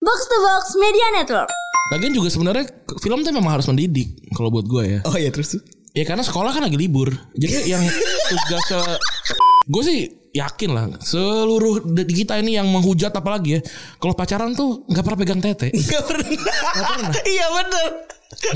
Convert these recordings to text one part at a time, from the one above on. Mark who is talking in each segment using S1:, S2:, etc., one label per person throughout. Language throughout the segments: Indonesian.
S1: Box to Box Media Network.
S2: Lagian juga sebenarnya ke- film tuh memang harus mendidik kalau buat gue ya.
S3: Oh iya terus tuh.
S2: Ya karena sekolah kan lagi libur. Jadi yang tugas gue sih yakin lah seluruh di kita ini yang menghujat apalagi ya kalau pacaran tuh nggak pernah pegang tete
S3: Gak pernah. iya bener.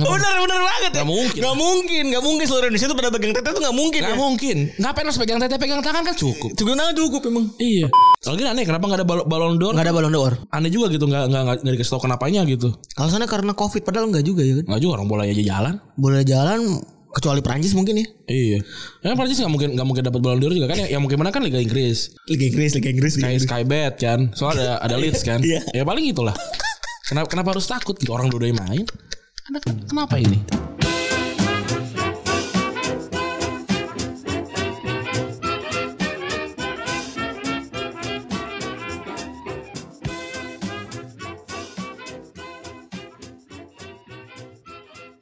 S3: bener bener banget ya.
S2: Nggak mungkin.
S3: Gak mungkin. Gak mungkin seluruh Indonesia tuh pada pegang tete tuh gak mungkin.
S2: nggak
S3: ya.
S2: mungkin ngapain harus pegang tete pegang tangan kan cukup
S3: Cukup nah, cukup emang.
S2: iya lagi aneh kenapa nggak ada bal- balon d'or
S3: Gak ada balon d'or.
S2: aneh juga gitu nggak nggak nggak- nggak dikasih tau kenapanya gitu
S3: Alasannya karena covid padahal nggak juga ya kan.
S2: nggak juga orang bola aja jalan
S3: Boleh jalan kecuali Prancis mungkin ya.
S2: Iya. Yang Prancis nggak mungkin nggak mungkin dapat Ballon d'Or juga kan? Yang, yang mungkin menang kan Liga Inggris.
S3: Liga Inggris, Liga Inggris. gitu. Liga
S2: Kayak
S3: Inggris.
S2: Skybet kan. Soalnya ada ada Leeds kan.
S3: Iya.
S2: Ya paling itulah. Kenapa kenapa harus takut gitu orang dua-duanya main? Anda ken- kenapa ini?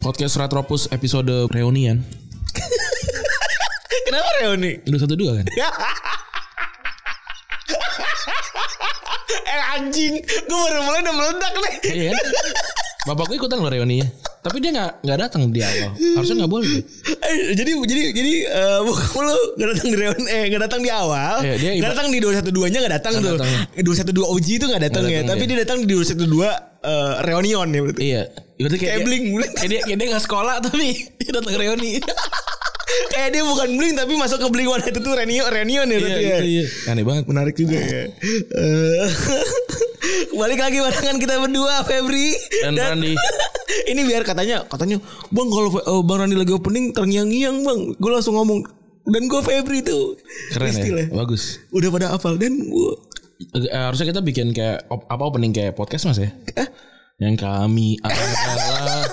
S2: Podcast Retropus episode reunian.
S3: Kenapa reuni?
S2: Udah satu dua kan?
S3: Eh anjing, gue baru mulai udah meledak nih.
S2: Iya kan? Bapak gue ikutan loh reuninya. Tapi dia nggak nggak datang di awal. Harusnya nggak boleh.
S3: Eh, jadi jadi jadi eh bokap lu gak datang di reuni eh gak datang di awal.
S2: Iya, dia
S3: gak
S2: iba-
S3: datang di 212-nya gak datang
S2: Nggak
S3: tuh.
S2: datang.
S3: 212 OG itu gak datang
S2: Nggak
S3: ya,
S2: datang
S3: tapi
S2: dia.
S3: dia datang di 212 eh reunion ya berarti.
S2: Iya. Berarti kayak,
S3: Kayak
S2: dia,
S3: bling
S2: kayak dia kayak dia nggak sekolah tapi dia datang reuni. Iya,
S3: Kayak Eh, dia bukan bling tapi masuk ke bling one itu tuh reunion reunion ya
S2: Iya,
S3: berarti. ya.
S2: gitu, Aneh banget.
S3: Menarik juga ya. Eh, Balik lagi barengan kita berdua Febri
S2: Dan Randi.
S3: Ini biar katanya katanya Bang kalau eh, Bang Randi lagi opening terngiang-ngiang Bang. Gue langsung ngomong dan gue Febri tuh.
S2: Keren
S3: Istilah.
S2: ya. Bagus.
S3: Udah pada hafal dan gue
S2: Eh, harusnya kita bikin kayak op- apa opening kayak podcast mas ya? Yang kami adalah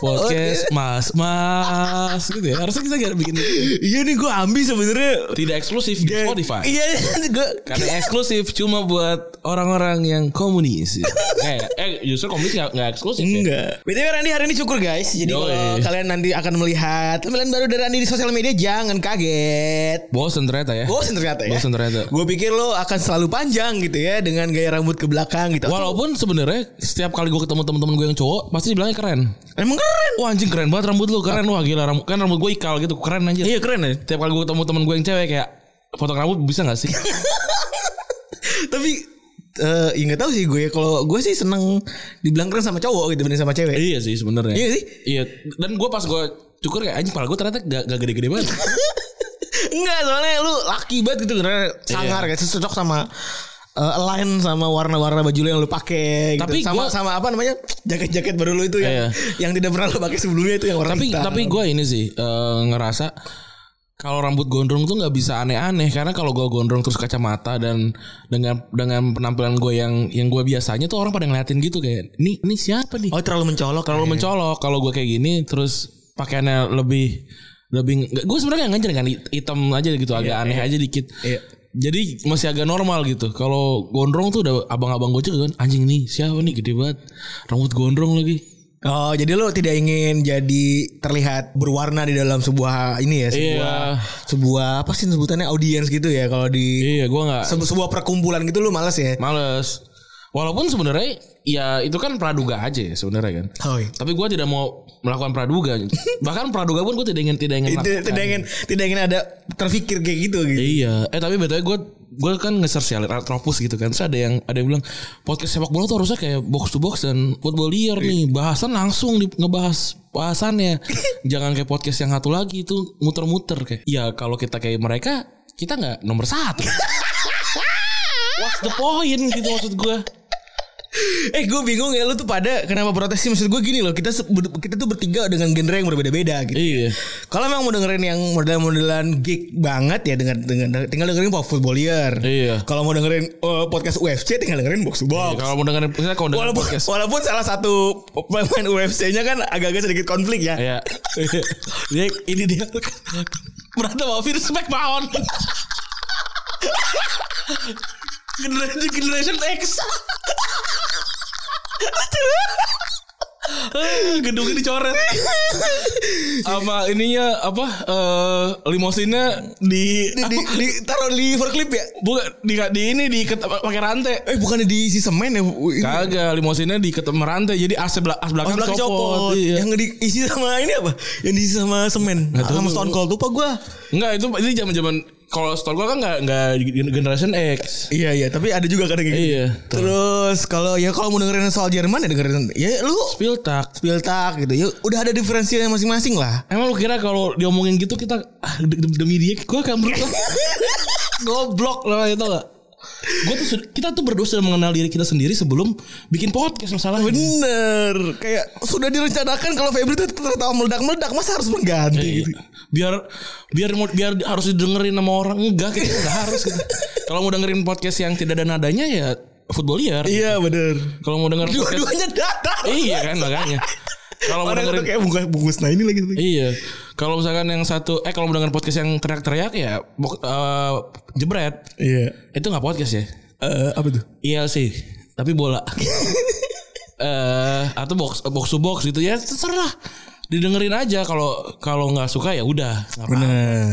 S2: podcast mas mas gitu ya. Harusnya kita nggak bikin itu.
S3: Iya nih gue ambil sebenarnya.
S2: tidak eksklusif di Spotify. Kan-
S3: Iya gue
S2: Karena eksklusif cuma buat orang-orang yang komunis. eh, eh justru komunis gak, nggak eksklusif ya.
S3: Enggak. BTW Randi hari ini cukur guys. Jadi
S2: Yoi.
S3: kalau kalian nanti akan melihat tampilan baru dari Randi di sosial media jangan kaget.
S2: Bosen ternyata ya.
S3: Bosen ternyata ya.
S2: Bosen ternyata.
S3: Gue pikir lo akan selalu panjang gitu ya dengan gaya rambut ke belakang gitu.
S2: Walaupun sebenarnya setiap kali gue ketemu teman-teman gue yang cowok pasti dibilangnya keren.
S3: emang keren.
S2: Wah anjing keren banget rambut lu keren wah gila rambut kan rambut gue ikal gitu keren anjir.
S3: Iya keren ya.
S2: Setiap kali gue ketemu teman gue yang cewek kayak potong rambut bisa gak sih?
S3: Tapi eh ya nggak tahu sih gue kalau gue sih seneng dibilang keren sama cowok gitu bener sama cewek.
S2: iya sih sebenarnya.
S3: Iya sih?
S2: Iya. Dan gue pas gue cukur kayak anjing pala gue ternyata gak, gak gede-gede banget.
S3: Enggak soalnya lu laki banget gitu karena sangar
S2: Iya.
S3: kayak cocok sama eh, align sama warna-warna baju lu yang lu pakai gitu.
S2: Tapi
S3: sama
S2: gua-
S3: sama apa namanya? jaket-jaket baru lu itu yang
S2: Iya.
S3: yang tidak pernah lu pakai sebelumnya itu yang warna
S2: tapi
S3: hitam.
S2: tapi gue ini sih eh, ngerasa kalau rambut gondrong tuh nggak bisa aneh-aneh karena kalau gue gondrong terus kacamata dan dengan dengan penampilan gue yang yang gue biasanya tuh orang pada ngeliatin gitu kayak ini ini siapa nih
S3: Oh terlalu mencolok
S2: kalau
S3: terlalu
S2: mencolok kalau gue kayak gini terus pakaiannya lebih lebih gue sebenarnya nggak ngejar kan hitam aja gitu agak aneh aja dikit
S3: Iya.
S2: jadi masih agak normal gitu kalau gondrong tuh udah abang-abang gue juga kan anjing nih siapa nih gede banget rambut gondrong lagi
S3: Oh, jadi lo tidak ingin jadi terlihat berwarna di dalam sebuah ini ya, sebuah
S2: iya
S3: sebuah apa sih sebutannya audiens gitu ya kalau di
S2: iya gue nggak
S3: se- sebuah perkumpulan gitu lo males ya.
S2: Males. Walaupun sebenarnya ya itu kan praduga aja ya sebenarnya kan.
S3: Oh, iya.
S2: Tapi gue tidak mau melakukan praduga. Bahkan praduga pun gue tidak ingin tidak ingin.
S3: Tidak,
S2: lakukan.
S3: tidak ingin tidak ingin ada terfikir kayak gitu gitu.
S2: Iya. Eh tapi betulnya gue gue kan nge-search ya Retropus gitu kan. Terus ada yang ada yang bilang podcast sepak bola tuh harusnya kayak box to box dan football liar nih. Bahasan langsung di, ngebahas bahasannya. Jangan kayak podcast yang satu lagi itu muter-muter kayak. Ya kalau kita kayak mereka kita nggak nomor satu. What's the point gitu maksud gue.
S3: Eh gue bingung ya lu tuh pada kenapa protes sih maksud gue gini loh kita se- ber- kita tuh bertiga dengan genre yang berbeda-beda gitu.
S2: Iya.
S3: Kalau memang mau dengerin yang modelan-modelan geek banget ya dengan dengan tinggal dengerin Pop Footballier.
S2: Iya.
S3: Kalau mau dengerin eh, podcast UFC tinggal dengerin Box to Box.
S2: Ya, kalau mau dengerin kita kalau dengerin
S3: Walaupun,
S2: podcast.
S3: walaupun salah satu pemain UFC-nya kan agak-agak sedikit konflik ya.
S2: Ya. dia Iya. ini dia berantem sama virus Smackdown. Iya. generation Generation X. Eh, gedungnya dicoret sama ininya apa eh limosinnya di
S3: di, di taruh di clip ya
S2: bukan di, di ini diikat pakai rantai
S3: eh bukannya diisi semen ya Bu? Ini-
S2: kagak limosinnya diikat sama rantai jadi as, bela- as belakang,
S3: Belakang
S2: copot,
S3: copot.
S2: Iya.
S3: Yang diisi sama ini apa? Yang diisi sama semen.
S2: Nggak tahu.
S3: sama Stone Cold lupa gua.
S2: Enggak itu itu zaman zaman kalau store gua kan nggak nggak generation X.
S3: Iya iya, tapi ada juga kadang kayak gitu.
S2: Iya.
S3: Terus kalau ya kalau mau dengerin soal Jerman ya dengerin ya lu
S2: Spiltak.
S3: Spiltak gitu. Ya udah ada diferensinya masing-masing lah.
S2: Emang lu kira kalau diomongin gitu kita ah, de- de- demi dia gua akan berubah. Goblok lah itu enggak. Gua tuh sud- kita tuh berdua sudah mengenal diri kita sendiri sebelum bikin podcast masalahnya.
S3: Bener Kayak sudah direncanakan Kalau Febri tuh tertawa meledak-meledak Masa harus mengganti
S2: Iya.
S3: gitu
S2: biar biar mau- biar harus didengerin sama orang enggak kita enggak harus gitu. kalau mau dengerin podcast yang tidak ada nadanya ya football liar
S3: Iya bener
S2: kalau mau
S3: Iya.
S2: denger podcast
S3: Dua-duanya datar
S2: iya kan makanya kalau mau
S3: Orang
S2: dengerin
S3: tuh kayak bungkus, bungkus Nah ini lagi
S2: Iya. Kalau misalkan yang satu eh kalau mendengar podcast yang teriak-teriak ya bok- eh, jebret.
S3: Iya
S2: Itu nggak podcast ya.
S3: Eh, Apa tuh
S2: ILC Iya tapi bola. Eh atau box box to box gitu ya terserah. Didengerin aja kalau kalau nggak suka ya udah. nggak apa-apa.
S3: Bener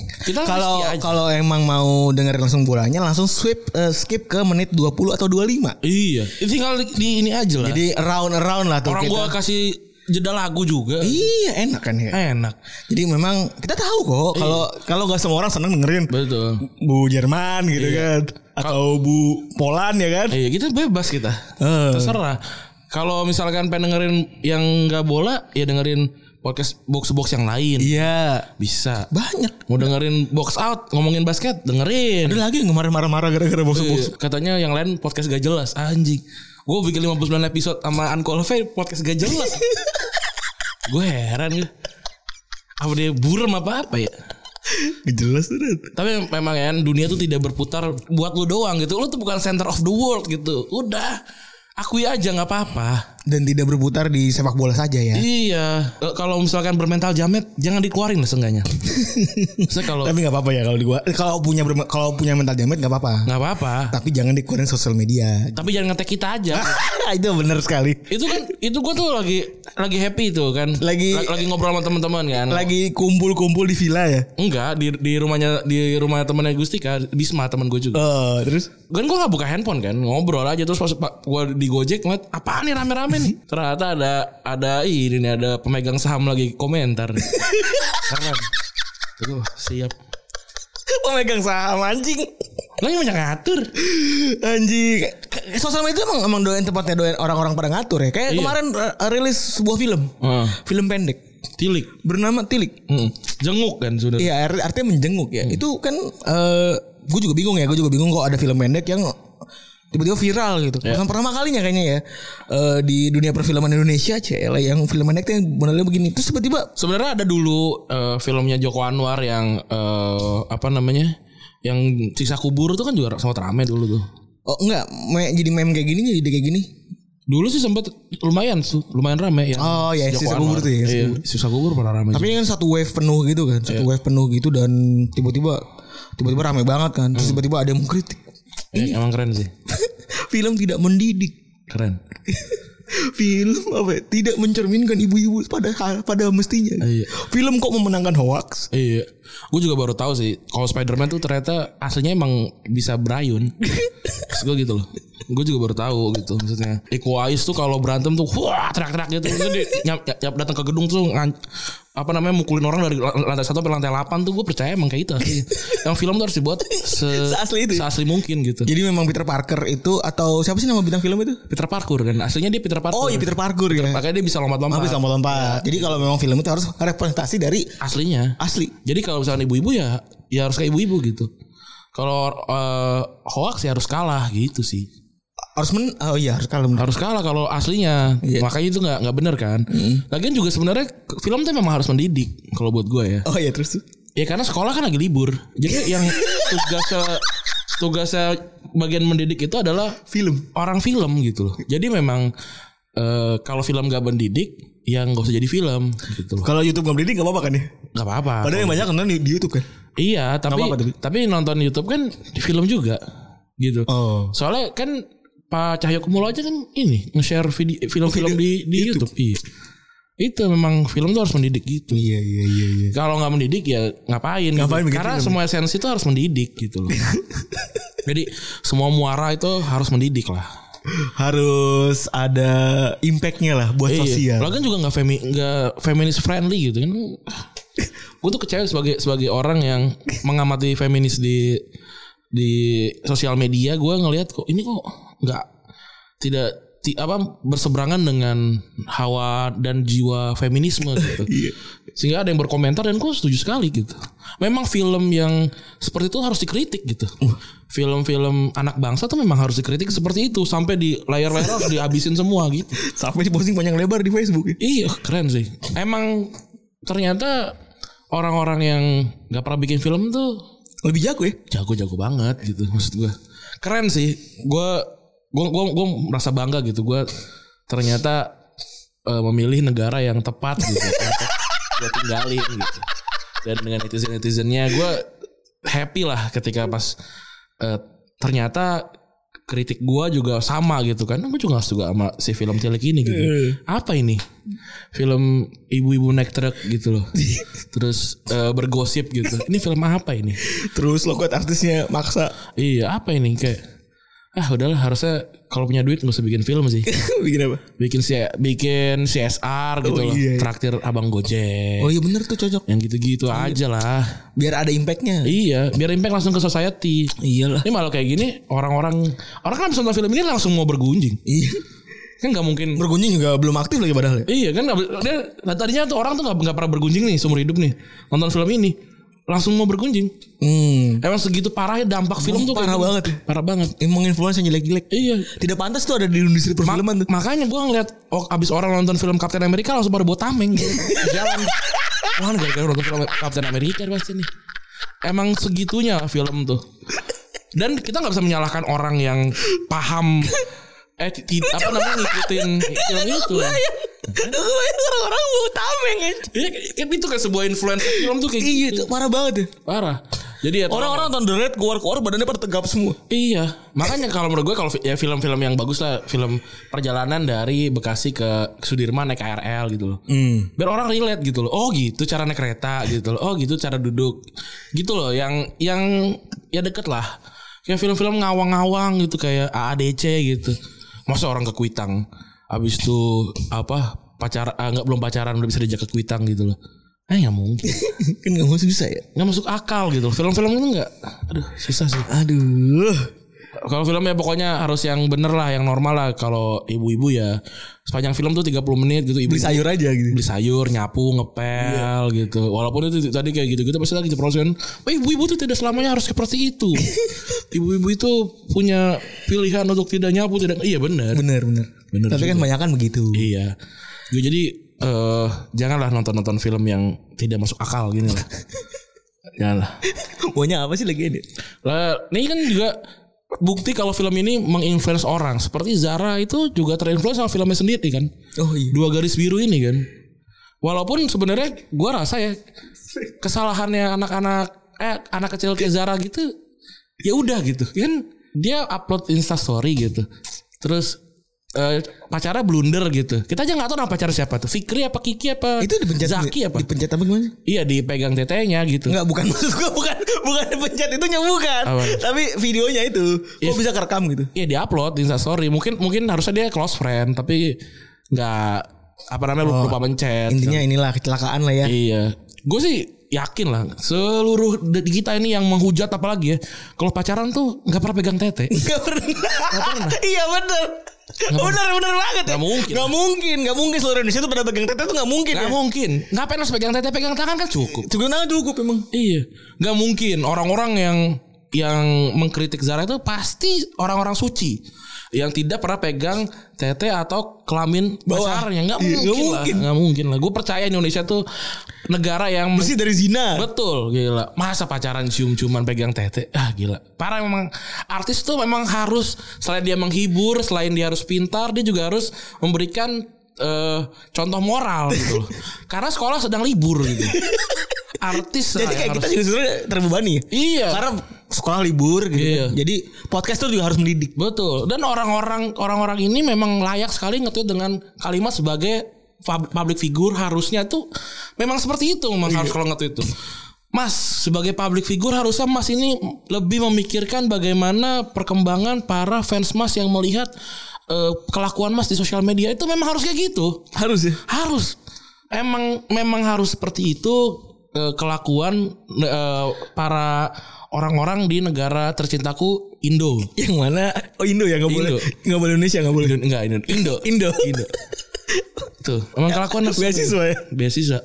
S2: Kita
S3: Kalau
S2: mesti aja.
S3: kalau emang mau dengerin langsung bolanya Langsung sweep eh, skip ke menit 20 atau 25
S2: iya. Itu tinggal di, di ini aja lah.
S3: Jadi round-round lah tuh
S2: Orang
S3: kita.
S2: gua kasih jeda lagu juga.
S3: Iya enak kan ya
S2: Enak.
S3: Jadi memang kita tahu kok
S2: Iya.
S3: kalau kalau nggak semua orang seneng dengerin
S2: Betul.
S3: Bu Jerman gitu kan atau Bu Poland ya kan
S2: Iya, kita bebas kita.
S3: Eh.
S2: Terserah. Kalau misalkan pengen dengerin yang nggak bola, ya dengerin podcast box box yang lain.
S3: Iya
S2: Bisa.
S3: banyak
S2: Mau dengerin box out, ngomongin basket, dengerin.
S3: Ada lagi yang kemarin marah-marah gara-gara box box.
S2: Iya, Katanya yang lain podcast gak jelas, anjing. Gue bikin 59 episode sama Unqualified podcast gak jelas. gue heran gue. Apa dia burem apa apa ya?
S3: Jelas tuh. Dad.
S2: Tapi memang ya dunia tuh tidak berputar buat lu doang gitu. Lu tuh bukan center of the world gitu. Udah, akui aja nggak apa-apa.
S3: Dan tidak berputar di sepak bola saja ya.
S2: Iya, Eh, kalau misalkan bermental jamet jangan dikeluarin lah seenggaknya. Saya kalau
S3: Tapi nggak apa-apa ya kalau di gua kalau punya berma- kalau punya mental jamet nggak apa-apa.
S2: nggak apa-apa,
S3: Tapi jangan dikeluarin sosial media.
S2: tapi jangan ngetek kita aja.
S3: itu benar sekali.
S2: itu kan itu gua tuh lagi lagi happy itu kan.
S3: Lagi-
S2: La- lagi ngobrol sama teman-teman kan.
S3: Lagi kumpul-kumpul di villa ya.
S2: Enggak di di rumahnya di rumah temennya Gustika, Bisma teman gue juga.
S3: Eh, terus
S2: Kan gua nggak buka handphone kan, ngobrol aja terus pas pa- gua di Gojek ngeliat apa nih rame-rame nih. Ternyata ada ada ini nih ada pemegang saham lagi komentar. Keren. Tuh, gua, siap.
S3: pemegang saham anjing.
S2: Lah yang banyak ngatur.
S3: Anjing. Sosial media emang emang doain tempatnya doain orang-orang pada ngatur ya. Kayak
S2: Iya.
S3: kemarin eh, rilis sebuah film.
S2: Heeh.
S3: Film pendek
S2: Tilik.
S3: bernama Tilik.
S2: Mm. Jenguk kan sudah.
S3: Iya, art- artinya menjenguk ya. Itu kan eh gue juga bingung ya, gue juga bingung kok ada film pendek yang tiba-tiba viral gitu. Yang pertama kalinya kayaknya ya eh, di dunia perfilman Indonesia CL yang film pendek tuh yang modelnya begini. Terus tiba-tiba
S2: Sebenarnya ada dulu eh, filmnya Joko Anwar yang eh, apa namanya? Yang sisa kubur itu kan juga sempat rame dulu tuh.
S3: oh enggak me- jadi meme kayak gini jadi kayak gini.
S2: Dulu sih sempat lumayan tuh, lumayan rame ya.
S3: Oh, iya, sisa kubur tuh ya, sisa
S2: Iya, sisa kubur pernah rame.
S3: Tapi
S2: juga.
S3: ini kan satu wave penuh gitu kan, satu wave penuh gitu dan tiba-tiba tiba-tiba rame banget kan. Terus tiba-tiba ada yang mengkritik.
S2: Eh, emang keren sih.
S3: film tidak mendidik.
S2: Keren.
S3: film apa ya, tidak mencerminkan ibu-ibu pada pada mestinya.
S2: Iya.
S3: Film kok memenangkan hoax?
S2: Iya. Gue juga baru tahu sih kalau Spider-Man tuh ternyata aslinya emang bisa berayun. Terus gue gitu loh. Gue juga baru tahu gitu maksudnya. Equalize tuh kalau berantem tuh wah teriak-teriak gitu. Terus dia nyap, nyap- nyap datang ke gedung tuh ngan- apa namanya mukulin orang dari la- lantai satu sampai lantai 8 tuh gue percaya emang kayak gitu. aslinya. Yang film tuh harus dibuat se-
S3: Seasli itu ya?
S2: seasli mungkin gitu.
S3: Jadi memang Peter Parker itu atau siapa sih nama bintang film itu?
S2: Peter Parkour kan aslinya dia Peter Parkour.
S3: Oh iya Peter Parker ya.
S2: Makanya dia bisa lompat-lompat.
S3: Tapi sama lompat. Jadi kalau memang film itu harus representasi dari
S2: Aslinya.
S3: asli.
S2: Jadi kalau misalnya ibu-ibu ya ya harus kayak ibu-ibu gitu. Kalau eh, hoax ya harus kalah gitu sih.
S3: Harus men oh iya harus kalau men-
S2: Harus kalah kalau aslinya.
S3: Iya.
S2: Makanya itu nggak nggak bener kan. Lagian juga sebenarnya ke- film tuh memang harus mendidik kalau buat gue ya.
S3: Oh iya terus tuh.
S2: Ya karena sekolah kan lagi libur. Jadi yang tugasnya tugasnya bagian mendidik itu adalah
S3: film.
S2: orang film gitu loh. Jadi memang eh, kalau film nggak mendidik yang nggak usah jadi film gitu loh.
S3: Kalau YouTube nggak mendidik nggak apa-apa kan ya?
S2: Gak apa-apa.
S3: Padahal yang banyak kan di, di YouTube kan.
S2: Iya, tapi,
S3: apa-apa, tapi.
S2: tapi nonton YouTube kan di film juga gitu.
S3: Oh.
S2: Soalnya kan Pak Cahyokumolo aja kan ini nge-share video film-film di di YouTube. Iya. Itu memang film tuh harus mendidik gitu.
S3: Iya iya iya iya.
S2: Kalau nggak mendidik ya ngapain? gitu.
S3: Ngapain kan? bikin
S2: Karena
S3: film?
S2: semua esensi itu harus mendidik gitu loh. Jadi semua muara itu harus mendidik lah.
S3: Harus ada impactnya lah buat
S2: Iya.
S3: sosial.
S2: Lagian juga nggak femi nggak feminis friendly gitu kan. Gue tuh kecewa sebagai sebagai orang yang mengamati feminis di di sosial media. Gue ngelihat kok ini kok nggak tidak ti- apa berseberangan dengan hawa dan jiwa feminisme gitu.
S3: Iya.
S2: Sehingga ada yang berkomentar dan gue setuju sekali gitu. Memang film yang seperti itu harus dikritik gitu.
S3: Uh.
S2: Film-film anak bangsa tuh memang harus dikritik seperti itu sampai di layar-layar harus dihabisin semua gitu.
S3: Sampai posting panjang lebar di Facebook ya.
S2: Iya keren sih. Emang ternyata orang-orang yang nggak pernah bikin film tuh
S3: Lebih jago ya.
S2: jago-jago banget gitu maksud gue. Keren sih. Gue gue gue gue merasa bangga gitu. Gue ternyata eh, memilih negara yang tepat gitu untuk gue tinggalin gitu. Dan dengan netizen netizennya gue happy lah ketika pas eh, ternyata kritik gue juga sama gitu kan gue juga nggak setuju sama si film cilik ini gitu apa ini film ibu-ibu naik truk gitu loh terus eh, bergosip gitu ini film apa ini
S3: Terus logot artisnya maksa
S2: Iya apa ini kayak ah udahlah harusnya kalau punya duit nggak usah bikin film sih
S3: bikin apa?
S2: bikin si bikin CSR gitu
S3: Oh,
S2: loh
S3: iya, iya.
S2: traktir abang gojek
S3: Oh iya bener tuh cocok.
S2: yang gitu-gitu aja lah
S3: Biar ada impactnya.
S2: iya biar impact langsung ke society
S3: Iyalah.
S2: ini malah kayak gini orang-orang orang kan abis nonton film ini langsung mau bergunjing
S3: Iya.
S2: kan nggak mungkin
S3: Bergunjing juga belum aktif lagi padahal ya.
S2: Iya kan nggak dia tadinya tuh orang tuh nggak nggak pernah bergunjing nih seumur hidup nih nonton film ini langsung mau bergunjing
S3: Hmm.
S2: emang segitu parahnya dampak film tuh kayak
S3: Parah
S2: gini.
S3: banget ya.
S2: parah banget
S3: Emang influencer yang jelek-jelek.
S2: iya
S3: Tidak pantas tuh ada di industri perfilman tuh.
S2: Makanya gue ngeliat oh, abis orang nonton film Captain America langsung pada bawa tameng gitu. Di jalan. Wah gara-gara nonton film Captain America pasti nih. Emang segitunya film tuh. Dan kita nggak bisa menyalahkan orang yang paham eh ti- ti- apa namanya ngikutin film itu.
S3: Orang-orang mau tameng aja.
S2: Iya, kan itu kayak sebuah influencer film tuh kayak
S3: Iya,
S2: gitu.
S3: tuh, parah banget ya.
S2: Parah. Jadi ya
S3: Orang-orang nonton The Red keluar-keluar badannya pada tegap semua.
S2: Iya, makanya kalau menurut gue kalau fi- ya film-film yang bagus lah, film perjalanan dari Bekasi ke Sudirman naik KRL gitu loh. Biar orang relate gitu loh. Oh gitu cara naik kereta gitu loh. Oh gitu cara duduk. Gitu loh yang yang ya deket lah. Kayak film-film ngawang-ngawang gitu kayak AADC gitu. Masa orang ke Kuitang habis itu apa pacar ah, nggak belum pacaran udah bisa diajak ke Kuitang gitu loh. Eh nggak mungkin.
S3: kan gak masuk bisa ya.
S2: Nggak masuk akal gitu loh. Film-film itu nggak aduh susah sih.
S3: Aduh.
S2: Kalau film ya pokoknya harus yang bener lah, yang normal lah. Kalau ibu-ibu ya sepanjang film tuh 30 menit gitu ibu
S3: Beli sayur aja gitu.
S2: beli sayur, nyapu, ngepel gitu. Walaupun itu tadi kayak gitu-gitu pasti lagi diprosen. "Wah, Ibu-ibu tuh tidak selamanya harus seperti itu. Ibu-ibu itu punya pilihan untuk tidak nyapu, tidak Iya bener
S3: Bener bener.
S2: Bener
S3: Tapi kan banyak kan begitu.
S2: Iya. Ya, Jadi eh janganlah nonton-nonton film yang tidak masuk akal gini lah. janganlah.
S3: Maunya apa sih lagi ini?
S2: Lah, ini kan juga bukti kalau film ini menginfluence orang. Seperti Zara itu juga terinfluence sama filmnya sendiri kan.
S3: Oh iya.
S2: Dua garis biru ini kan. Walaupun sebenarnya gua rasa ya kesalahannya anak-anak eh anak kecil kayak Zara gitu ya udah gitu. Kan dia upload Insta story gitu. Terus eh, pacarnya blunder gitu. Kita aja nggak tahu nama pacar siapa tuh. Fikri apa Kiki apa
S3: Itu dipencet
S2: Zaki apa?
S3: Dipencet apa gimana?
S2: iya dipegang tetenya gitu.
S3: Enggak bukan maksud gua bukan bukan dipencet itunya bukan.
S2: Apa?
S3: Tapi videonya itu
S2: Iya.
S3: kok bisa kerekam gitu.
S2: Iya di upload di Instastory. Mungkin mungkin harusnya dia close friend tapi nggak apa namanya lupa, lupa mencet.
S3: Oh, Intinya inilah kecelakaan lah ya.
S2: Iya. Gue sih yakin lah seluruh di kita ini yang menghujat apalagi ya kalau pacaran tuh nggak pernah pegang tete
S3: Gak pernah. iya bener. bener bener banget.
S2: Nggak mungkin.
S3: Gak mungkin. Gak mungkin seluruh Indonesia tuh pada pegang tete tuh gak mungkin.
S2: nggak
S3: ya.
S2: mungkin ngapain harus pegang tete pegang tangan kan cukup
S3: Cukup nah cukup emang.
S2: iya nggak mungkin orang-orang yang yang mengkritik Zara itu pasti orang-orang suci yang tidak pernah pegang tete atau kelamin
S3: Bawah.
S2: pacarnya nggak
S3: Iya,
S2: mungkin,
S3: nggak
S2: lah
S3: mungkin.
S2: nggak mungkin lah gue percaya Indonesia tuh negara yang
S3: Bersih dari zina.
S2: Betul, gila. Masa pacaran cium-ciuman pegang tete? Ah, gila. Parah memang artis tuh memang harus selain dia menghibur, selain dia harus pintar, dia juga harus memberikan eh, contoh moral gitu loh. Karena sekolah sedang libur gitu. Artis lah
S3: Jadi
S2: yang
S3: kayak kita
S2: harus-
S3: juga sebenarnya terbebani. ya?
S2: Iya.
S3: Karena sekolah libur gitu.
S2: Iya.
S3: kan. Jadi podcast tuh juga harus mendidik.
S2: Betul. Dan orang-orang orang-orang ini memang layak sekali ngetweet dengan kalimat sebagai fab- public figure harusnya tuh memang seperti itu memang harus kalau ngetweet tuh. Mas sebagai public figure harusnya Mas ini lebih memikirkan bagaimana perkembangan para fans Mas yang melihat eh, kelakuan Mas di sosial media itu memang harus kayak gitu.
S3: Harus ya.
S2: Harus. Emang memang harus seperti itu eh, kelakuan eh, para orang-orang di negara tercintaku Indo.
S3: Yang mana? Oh Indo ya nggak boleh.
S2: Indo.
S3: Nggak boleh Indonesia nggak boleh.
S2: Indo, enggak Indo. Indo.
S3: Indo.
S2: Indo. Tuh, emang kelakuan harus-
S3: Beasiswa ya?
S2: Beasiswa.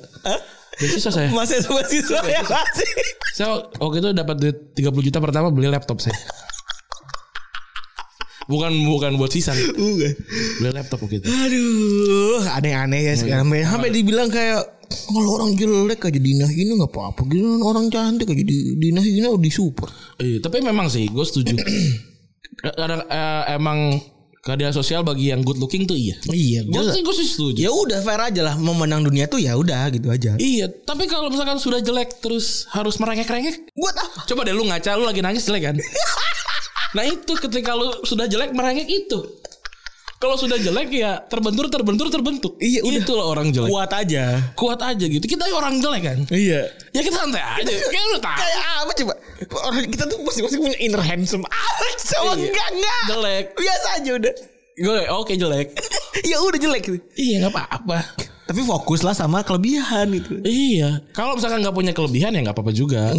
S2: Beasiswa saya.
S3: Masih sama siswa ya masih.
S2: Saya waktu itu dapat duit 30 juta pertama beli laptop saya. Bukan bukan buat sisan,
S3: Bukan.
S2: beli laptop waktu itu.
S3: Aduh, aneh-aneh ya sekarang. Sampai, sampai dibilang kayak kalau orang jelek aja dinahin nggak apa-apa gitu orang cantik aja di dinahin di support
S2: Iya, tapi memang sih gue setuju. Kadang eh, emang keadilan sosial bagi yang good looking tuh iya.
S3: iya
S2: Gue sih gue sih setuju.
S3: ya udah fair aja lah mau menang dunia tuh ya udah gitu aja
S2: Iya, tapi kalau misalkan sudah jelek terus harus merengek-rengek,
S3: buat apa
S2: Coba deh lu ngaca lu lagi nangis jelek kan? nah itu ketika lu sudah jelek merengek itu. Kalau sudah jelek ya terbentur terbentur terbentuk.
S3: Iya, udah.
S2: Itulah orang jelek. Kuat.
S3: kuat aja
S2: aja gitu. Kita orang jelek kan?
S3: Iya.
S2: Ya kita santai aja. Kan lu tahu.
S3: Kayak apa coba? Orang kita tuh masing-masing punya inner handsome. Ah, coba
S2: Iya.
S3: enggak enggak.
S2: Jelek.
S3: Biasa aja udah.
S2: Gue oke jelek.
S3: ya udah jelek gitu.
S2: iya nggak apa-apa.
S3: Tapi fokuslah sama kelebihan gitu.
S2: Iya. Kalau misalkan nggak punya kelebihan ya nggak apa-apa juga.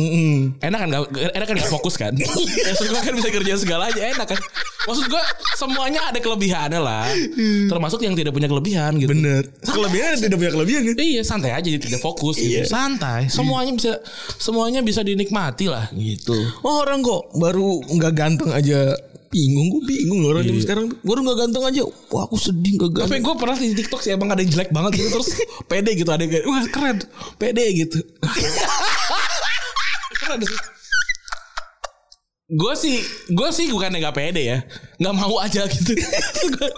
S2: Enak kan nggak enak kan nggak fokus kan?
S3: Iya.
S2: Maksud gue kan bisa kerja segalanya enak kan? Maksud gue semuanya ada kelebihannya lah.
S3: Hmm.
S2: Termasuk yang tidak punya kelebihan gitu.
S3: Bener. Kelebihan tidak punya kelebihan kan?
S2: Iya santai aja jadi tidak fokus gitu.
S3: Iya.
S2: Santai. Semuanya bisa semuanya bisa dinikmati lah gitu.
S3: Oh, orang kok baru nggak ganteng aja bingung gue bingung loh orang zaman sekarang baru nggak ganteng aja wah aku sedih nggak
S2: Tapi
S3: ganteng
S2: gue pernah di TikTok sih emang ada yang jelek banget gitu terus pede gitu ada yang kayak wah keren pede gitu. keren sih. Gue sih gue sih bukan nggak pede ya, nggak mau aja gitu. Terus gua-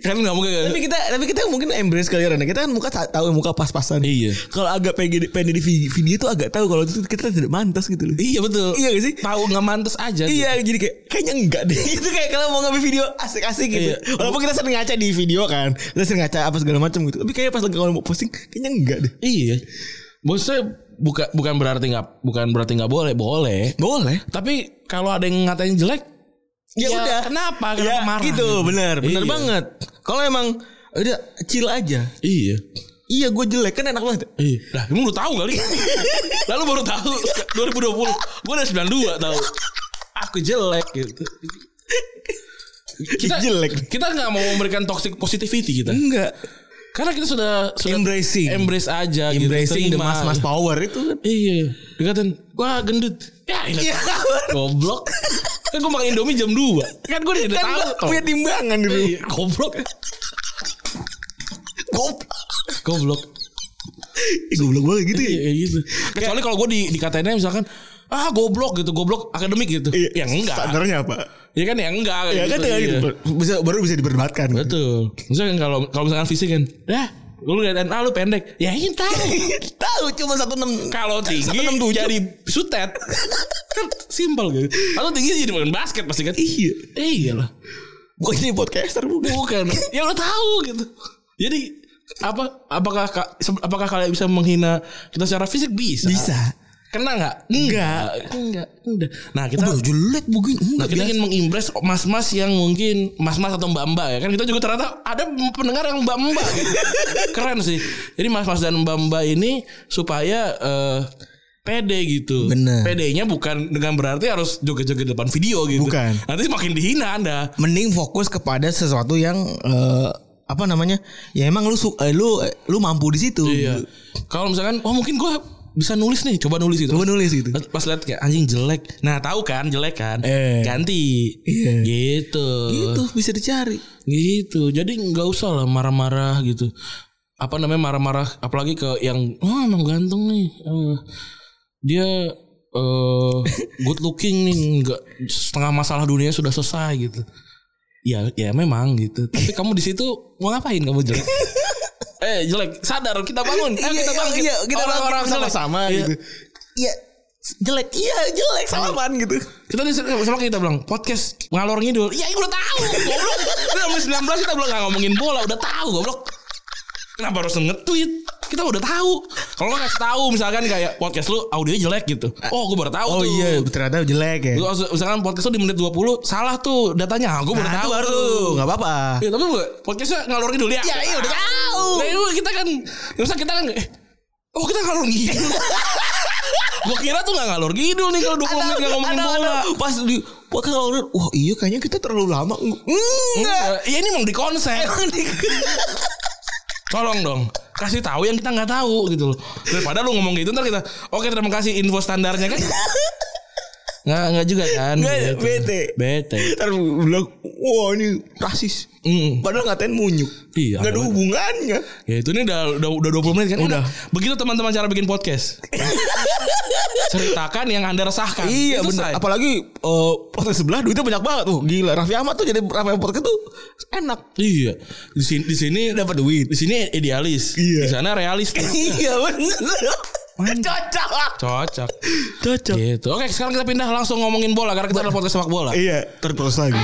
S2: kan nggak mungkin.
S3: tapi kita tapi kita mungkin embrace kali orang kita kan muka ta- tahu muka pas-pasan
S2: Iya.
S3: kalau agak pengen pengen di vi- video tuh agak tahu kalau itu kita tidak mantas gitu loh
S2: Iya betul.
S3: Iya gak sih?
S2: Tahu nggak mantes aja. gitu.
S3: Iya jadi kayak kayaknya enggak deh Itu kayak kalau mau ngambil video asik-asik gitu
S2: Iya.
S3: Walaupun kita sering ngaca di video kan Kita sering ngaca apa segala macam gitu Tapi kayaknya pas lagi kalau mau posting Kayaknya enggak deh
S2: Iya. Maksudnya bukan bukan berarti nggak bukan berarti nggak boleh boleh.
S3: Boleh
S2: Tapi kalau ada yang ngatain jelek,
S3: Ya, udah
S2: Iya, Kenapa?
S3: Ya
S2: Kenapa marah?
S3: gitu bener Bener
S2: Iya.
S3: banget Kalau emang udah chill aja
S2: Iya.
S3: Iya gue jelek kan enak banget
S2: Iya. Lah, emang lu tahu kali? Lalu baru tahu 2020. Gua udah 92 tahu. Aku jelek gitu. Kita
S3: Jelek.
S2: Kita nggak mau memberikan toxic positivity kita.
S3: Enggak
S2: Karena kita sudah, sudah
S3: Embracing. Gitu,
S2: embrace aja gitu,
S3: Embracing the
S2: Terima.
S3: mas-mas power itu kan
S2: Iya. Dikatain, wah gendut. Ya, elah.
S3: Iya
S2: goblok. Kan gue makan Indomie jam 2. Kan gue udah
S3: Kan
S2: tahu.
S3: gua punya timbangan dulu
S2: Iya, goblok.
S3: Goblok
S2: Goblok.
S3: Ih, Goblok banget gitu ya
S2: Iya gitu. Kecuali kalau gue di dikatainnya misalkan ah goblok gitu, goblok akademik gitu. Ya enggak.
S3: Iya, Standarnya apa
S2: Ya kan ya enggak
S3: Ya kan
S2: iya.
S3: ya gitu bisa, Baru bisa diperdebatkan gitu.
S2: Betul. Misalkan kalau kalau misalkan fisik kan, dah lu liatin ah lu pendek. Ya ini tahu.
S3: Tahu cuma satu enam.
S2: Kalau tinggi jadi sutet. kan simpel gitu. Atau tinggi jadi main basket pasti kan.
S3: Iya.
S2: Iya lah.
S3: Gue jadi podcaster bukan.
S2: Bukan. ya udah tahu gitu. Jadi apa apakah ka- se- apakah kalian bisa menghina kita secara fisik bisa?
S3: Bisa.
S2: Kena nggak? Enggak. Enggak. Udah. Nah kita
S3: Udah jelek mungkin.
S2: Nah,
S3: Enggak
S2: kita ingin mengimpress mas-mas yang mungkin mas-mas atau mbak-mbak ya kan kita juga ternyata ada pendengar yang mbak-mbak gitu. keren sih jadi mas-mas dan mbak-mbak ini supaya eh, pede gitu
S3: Bener.
S2: pedenya bukan dengan berarti harus joget-joget depan video gitu
S3: Bukan.
S2: nanti makin dihina anda
S3: Mending fokus kepada sesuatu yang eh, apa namanya? Ya emang lu su- eh, lu eh, lu mampu di situ.
S2: iya kalau misalkan oh mungkin gua bisa nulis nih coba nulis gitu
S3: Gue nulis gitu.
S2: pas lihat kayak anjing jelek nah tahu kan jelek kan
S3: Eh.
S2: ganti
S3: Iya.
S2: gitu
S3: Itu bisa dicari.
S2: gitu jadi nggak usah lah marah-marah gitu apa namanya marah-marah apalagi ke yang oh emang ganteng nih Eh, dia eh good looking nih nggak setengah masalah dunia sudah selesai gitu ya ya memang gitu tapi kamu di situ mau ngapain kamu jelek eh jelek sadar kita bangun eh,
S3: Iya,
S2: kita
S3: iya,
S2: bangkit
S3: iya, kita bangkit
S2: orang-orang jelek.
S3: sama-sama
S2: Iya.
S3: gitu. Iya. jelek iya jelek salaman gitu
S2: Kita di sama kita bilang podcast ngalor ngidul. Iya, gue udah tahu. Goblok. Udah sampai 19 kita bilang gak ngomongin bola, udah tahu goblok. Kenapa harus nge-tweet? Kita udah tahu. Kalau lo ngasih tahu misalkan kayak podcast lu audionya jelek gitu. Oh, gue baru tahu
S4: Oh
S2: tuh.
S4: iya ternyata jelek ya.
S2: Lu harus- Misalkan podcast lu di menit 20 salah tuh datanya. Gue baru
S4: Nah,
S2: tahu
S4: itu baru
S2: tuh.
S4: nggak apa-apa.
S2: Ya, tapi gue podcastnya ngalor ngidul ya.
S3: ya iya udah tahu
S2: Nah, itu kita kan, masa kita kan, eh, oh kita ngalor ngidul. gue kira tuh gak ngalor ngidul nih kalau 20 menit gak ngomongin
S3: Ada- ada-
S2: bola.
S3: pas di wah kalau wah iya kayaknya kita terlalu lama hmm.
S2: Enggak.
S3: enggak
S2: Ya ini emang di konsep. Tolong dong kasih tahu yang kita nggak tahu gitu loh. Daripada lu ngomong gitu ntar kita oke terima kasih info standarnya kan. Nggak nggak juga kan.
S3: Nggak,
S2: gitu.
S3: bete.
S2: Bete.
S3: Ntar bilang Wah ini rasis
S2: Mm.
S3: Padahal ngatain munyuk
S2: Iya,
S3: Gak ada
S2: ada-
S3: hubungannya
S2: Ya itu ini udah udah, udah 20 menit kan. Udah. Begitu teman-teman cara bikin podcast. Ceritakan yang Anda resahkan.
S3: Iya
S2: Itu
S3: bener
S2: say.
S3: Apalagi eh, Podcast sebelah duitnya banyak banget tuh Gila Raffi Ahmad tuh jadi Raffi Ahmad podcast tuh Enak
S2: Iya. Di sini di sini
S3: Dapat duit
S2: di sini idealis,
S3: Iya.
S2: di sana realistis.
S3: Iya bener Cocok lah
S2: Cocok.
S3: Cocok
S2: Gitu. Oke, sekarang kita pindah langsung ngomongin bola karena kita ada podcast sepak bola.
S3: Iya Terus lagi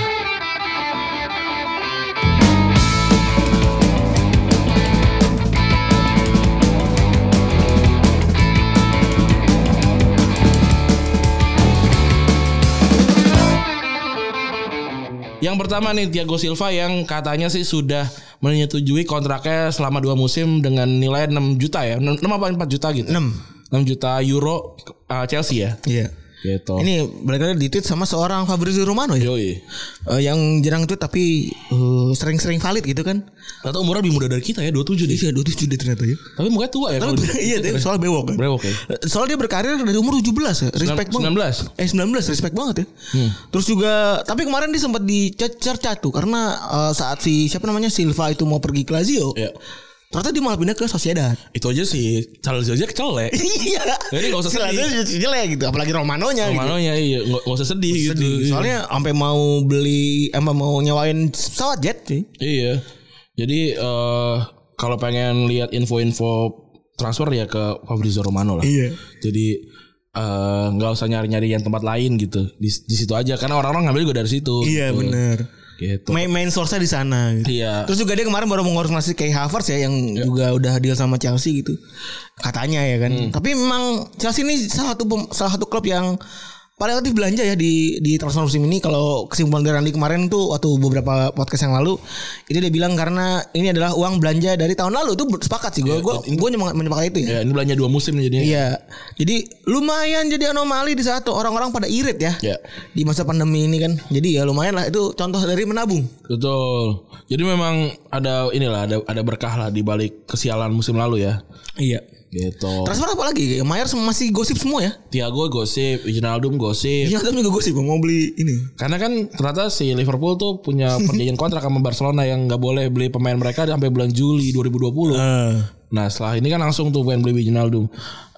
S2: Yang pertama nih Thiago Silva yang katanya sih sudah menyetujui kontraknya selama dua musim dengan nilai 6 juta ya. 6 apa 4 juta gitu.
S3: 6.
S2: 6 juta euro uh, Chelsea ya.
S3: Iya
S2: Gitu. Ini
S3: Ini balik lagi di tweet sama seorang Fabrizio Romano ya
S2: Yoi.
S3: Eh, Yang jarang tweet tapi eh, Sering-sering valid gitu kan
S2: Ternyata umurnya lebih muda dari kita ya 27 deh.
S3: Iya 27 deh ternyata ya
S2: Tapi mukanya tua ya. kalau dia.
S3: Iya tapi soal bewok kan
S2: Brewok ya.
S3: Soalnya dia berkarir dari umur 17 ya. Respect banget.
S2: 19.
S3: Eh 19 respect banget ya.
S2: Hmm.
S3: Terus juga tapi kemarin dia sempat dicerca tuh karena eh, saat si siapa namanya Silva itu mau pergi ke Lazio.
S2: Iya.
S3: Ternyata dia malah pindah ke Sociedad.
S2: Itu aja sih Charles aja kecelek.
S3: Iya.
S2: Jadi Ya, nggak usah
S3: Si Lazio jelek gitu, apalagi Romanonya gitu.
S2: Romano ya iya nggak nggak usah sedih gitu.
S3: Sedih.
S2: Iya.
S3: Soalnya sampai mau beli apa mau nyewain pesawat jet sih.
S2: Iya. Jadi eh kalau pengen lihat info-info transfer ya ke Fabrizio Romano lah.
S3: Iya.
S2: Jadi eh, nggak usah nyari-nyari yang tempat lain gitu. Di, di situ aja karena orang-orang ngambil juga dari situ. gitu.
S3: Iya, bener
S2: Gitu.
S3: Main main source di sana gitu.
S2: Iya.
S3: Terus juga dia kemarin baru mengonfirmasi kayak Havertz ya yang juga udah deal sama Chelsea gitu. Katanya ya kan. Tapi memang Chelsea ini salah satu pem- salah satu klub yang paling aktif belanja ya di di transfer musim ini kalau kesimpulan dari Randy kemarin tuh waktu beberapa podcast yang lalu itu dia bilang karena ini adalah uang belanja dari tahun lalu itu sepakat sih gue gue gue menyepakat itu
S2: ya
S3: ya.
S2: ini belanja dua musim nih jadinya.
S3: Iya. Jadi lumayan jadi anomali di saat orang-orang pada irit ya.
S2: Iya.
S3: Di masa pandemi ini kan. Jadi ya lumayan lah itu contoh dari menabung.
S2: Betul. Jadi memang ada inilah ada ada berkah lah di balik kesialan musim lalu ya.
S3: Iya.
S2: Gitu.
S3: Transfer apa lagi? Mayer masih gosip semua ya?
S2: Thiago gosip, Wijnaldum gosip.
S3: Iya, tapi juga gosip mau beli ini.
S2: Karena kan ternyata si Liverpool tuh punya perjanjian kontrak sama Barcelona yang nggak boleh beli pemain mereka sampai bulan Juli 2020. Nah setelah ini kan langsung tuh pengen beli Wijnaldum.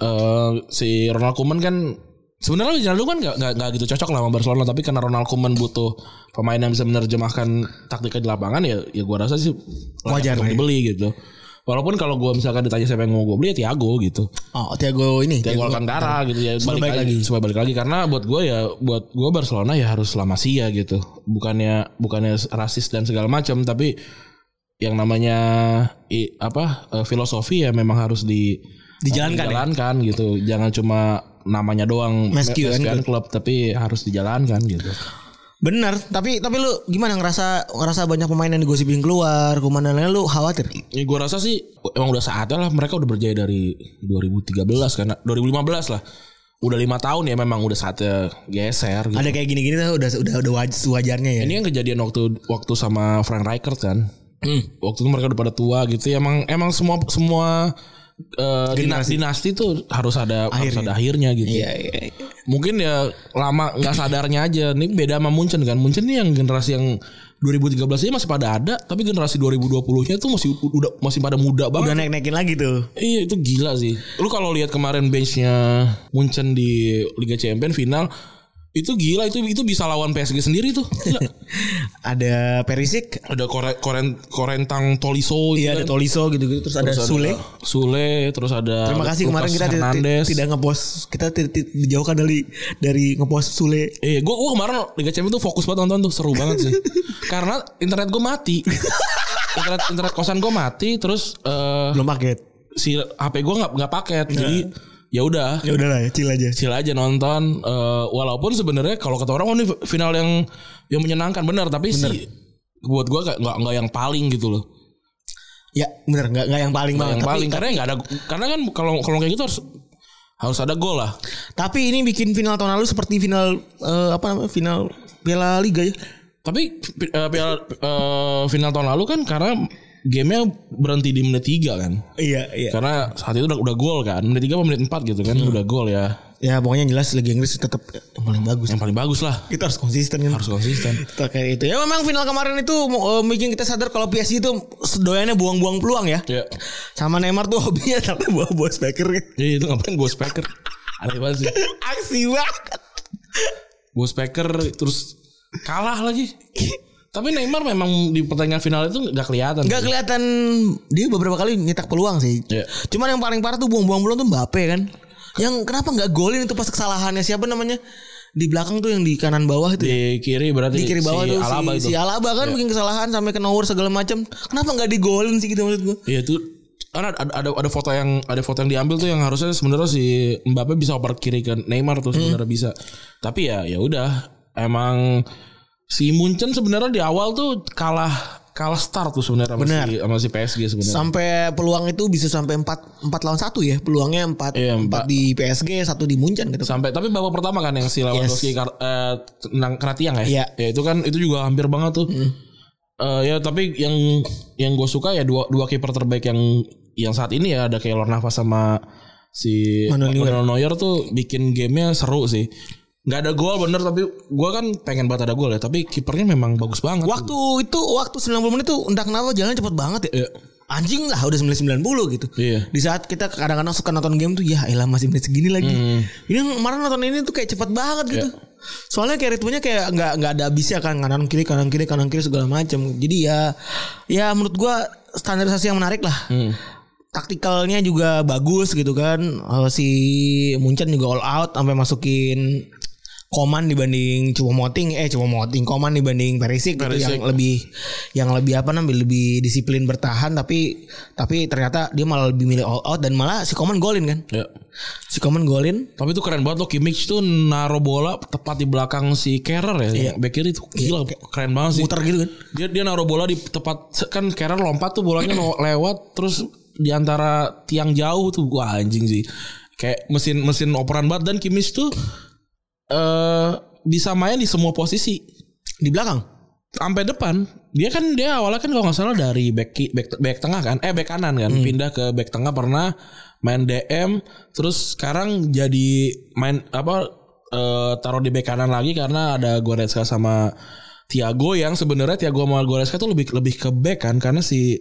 S2: Eh, si Ronald Koeman kan sebenarnya Wijnaldum kan nggak nggak nggak gitu cocok lah sama Barcelona tapi karena Ronald Koeman butuh pemain yang bisa menerjemahkan taktiknya di lapangan ya ya gua rasa sih layak
S3: Wajar lah
S2: untuk
S3: ya.
S2: dibeli gitu. Walaupun kalau gua misalkan ditanya siapa yang mau gue beli ya Thiago gitu.
S3: Oh, Thiago ini.
S2: Ya gol Alcantara gitu ya balik
S3: balik
S2: lagi, supaya balik lagi karena buat gue ya buat gue Barcelona ya harus La Masia gitu bukannya bukannya rasis dan segala macam tapi yang namanya i- apa eh, filosofi ya memang harus di
S3: Dijalankan ya?
S2: dijalankan gitu jangan cuma namanya doang
S3: Meskian
S2: Meskian club tapi harus dijalankan gitu
S3: Bener, tapi tapi lu gimana ngerasa ngerasa banyak pemain yang digosipin keluar, kemana lain lu khawatir?
S2: Ya gue rasa sih emang udah saatnya lah mereka udah berjaya dari 2013 karena 2015 lah udah lima tahun ya memang udah saatnya geser gitu.
S3: Ada kayak gini-gini tuh udah udah udah waj- sewajarnya ya.
S2: Ini kan kejadian waktu waktu sama Frank Rijkaard kan.
S3: Hmm.
S2: Waktu itu mereka udah pada tua gitu. ya. Emang emang semua semua eh, dina- dinasti tuh harus ada harus ada akhirnya gitu.
S3: iya.
S2: Mungkin ya lama nggak sadarnya aja. Ini beda sama Munchen kan. Munchen nih yang generasi yang 2013 nya masih pada ada, tapi generasi 2020-nya tuh masih u- udah masih pada muda
S3: Udah
S2: banget.
S3: naik-naikin lagi tuh.
S2: Iya itu gila sih. Lu kalau lihat kemarin benchnya Munchen di Liga Champions final Itu gila itu itu bisa lawan PSG sendiri tuh. Gila.
S3: Ada Perisik,
S2: ada Kore- Koren Korentang Toliso itu
S3: iya ada
S2: kan.
S3: Toliso gitu-gitu terus, ada
S2: Terus ada
S3: Sule.
S2: Sule terus ada
S3: Terima kasih
S2: Lucas
S3: kemarin kita ti- ti-
S2: Hernandez.
S3: tidak ngepost, kita ti- ti- dijauhkan dari dari ngepost Sule.
S2: Iya, gue gua kemarin Liga Champions tuh fokus banget nonton tuh seru banget sih. Karena internet gue mati. internet internet kosan gue mati terus eh,
S3: Belum paket.
S2: si HP gue nggak nggak
S3: Iya.
S2: paket. Jadi ya udah
S3: Ya udahlah ya, chill aja.
S2: chill aja nonton Eh, walaupun sebenarnya kalau kata orang oh, ini final yang yang menyenangkan benar tapi sih buat gue nggak nggak nggak yang paling gitu loh
S3: Ya bener nggak nggak yang paling
S2: nggak yang
S3: banget. Nah, Tapi-
S2: paling karena nggak ada karena kan kalau kalau kayak gitu harus harus ada gol lah
S3: Tapi ini bikin final tahun lalu seperti final eh, apa namanya final Piala Liga ya.
S2: Tapi pi- eh, piala- eh, final tahun lalu kan karena gamenya berhenti di menit 3 kan.
S3: Iya iya.
S2: Karena saat itu udah, udah gol kan. Menit 3 atau menit 4 gitu kan udah gol ya.
S3: Ya pokoknya yang jelas Liga Inggris tetap yang paling bagus.
S2: Yang paling bagus lah.
S3: Kita harus konsisten kan.
S2: Harus konsisten.
S3: Terkait itu. Ya memang final kemarin itu eh, bikin kita sadar kalau PSG itu doyannya buang-buang peluang ya.
S2: Ya.
S3: Sama Neymar tuh hobinya ternyata buah-buah speaker.
S2: Jadi itu ngapain gue speaker. Aneh banget sih.
S3: Aksi banget.
S2: Gue speaker terus kalah lagi. Tapi Neymar memang di pertandingan final itu nggak kelihatan.
S3: Gak kelihatan dia beberapa kali nyetak peluang sih.
S2: Iya.
S3: Cuman yang paling parah tuh buang-buang peluang tuh Mbappe kan. Yang kenapa nggak golin itu pas kesalahannya siapa namanya? Di belakang tuh yang di kanan bawah itu.
S2: Di kiri berarti
S3: Di kiri bawah
S2: Iya, si
S3: tuh
S2: Alaba
S3: si,
S2: itu. Iya.
S3: si Alaba kan bikin kesalahan sampai ke nomor segala macam. Kenapa nggak digolin sih gitu maksud gua?
S2: Iya itu karena ada, ada ada foto yang ada foto yang diambil tuh yang harusnya sebenarnya si Mbappe bisa oper kiri ke Neymar tuh sebenarnya bisa. Tapi ya ya udah emang si Munchen sebenarnya di awal tuh kalah kalah start tuh sebenarnya sama,
S3: Benar.
S2: si, sama si PSG sebenarnya.
S3: Sampai peluang itu bisa sampai 4 4 lawan 1 ya. Peluangnya 4
S2: Iya, empat.
S3: 4 di PSG, satu di Munchen gitu.
S2: Sampai tapi babak pertama kan yang si Lewandowski kar- eh, tenang kena tiang ya.
S3: Iya. Hmm.
S2: Ya itu kan itu juga hampir banget tuh. Eh, ya tapi yang yang gue suka ya dua dua kiper terbaik yang yang saat ini ya ada Keylor Navas sama si
S3: Manuel Neuer.
S2: Manuel Neuer tuh bikin gamenya seru sih. Gak ada gol bener tapi gue kan pengen banget ada gol ya tapi kipernya memang bagus banget.
S3: Waktu itu waktu 90 menit tuh entah kenapa jalan cepet banget ya.
S2: Iya.
S3: Anjing lah udah 990 gitu.
S2: Iya.
S3: Di saat kita kadang-kadang suka nonton game tuh ya elah masih menit segini lagi.
S2: Hmm.
S3: Ini yang kemarin nonton ini tuh kayak cepet banget gitu.
S2: Iya.
S3: Soalnya kayak ritmenya kayak nggak nggak ada habisnya kan kanan kiri kanan kiri kanan kiri segala macam. Jadi ya ya menurut gua standarisasi yang menarik lah.
S2: Hmm.
S3: Taktikalnya juga bagus gitu kan. Eh, Si Munchen juga all out sampai masukin Koman dibanding Moting eh Moting Koman dibanding Perisik, gitu,
S2: Perisic.
S3: yang lebih yang lebih apa namanya lebih disiplin bertahan tapi tapi ternyata dia malah lebih milih all out dan malah si Koman golin kan
S2: Ya.
S3: si Koman golin
S2: Tapi itu keren banget loh Kimmich tuh naro bola tepat di belakang si Kerrer
S3: Iya.
S2: ya. yang Back kiri tuh gila keren banget sih.
S3: muter gitu kan
S2: dia dia naruh bola di tepat kan Kerrer lompat tuh bolanya lo- lewat terus di antara tiang jauh tuh gua anjing sih kayak mesin mesin operan banget dan Kimmich tuh eh bisa main di semua posisi
S3: di belakang
S2: sampai depan dia kan dia awalnya kan kalau nggak salah dari back, ki- back back tengah kan eh back kanan kan pindah ke back tengah pernah main DM terus sekarang jadi main apa eh, taruh di back kanan lagi karena ada Goretzka sama Thiago yang sebenarnya Thiago sama Goretzka tuh lebih lebih ke back kan karena si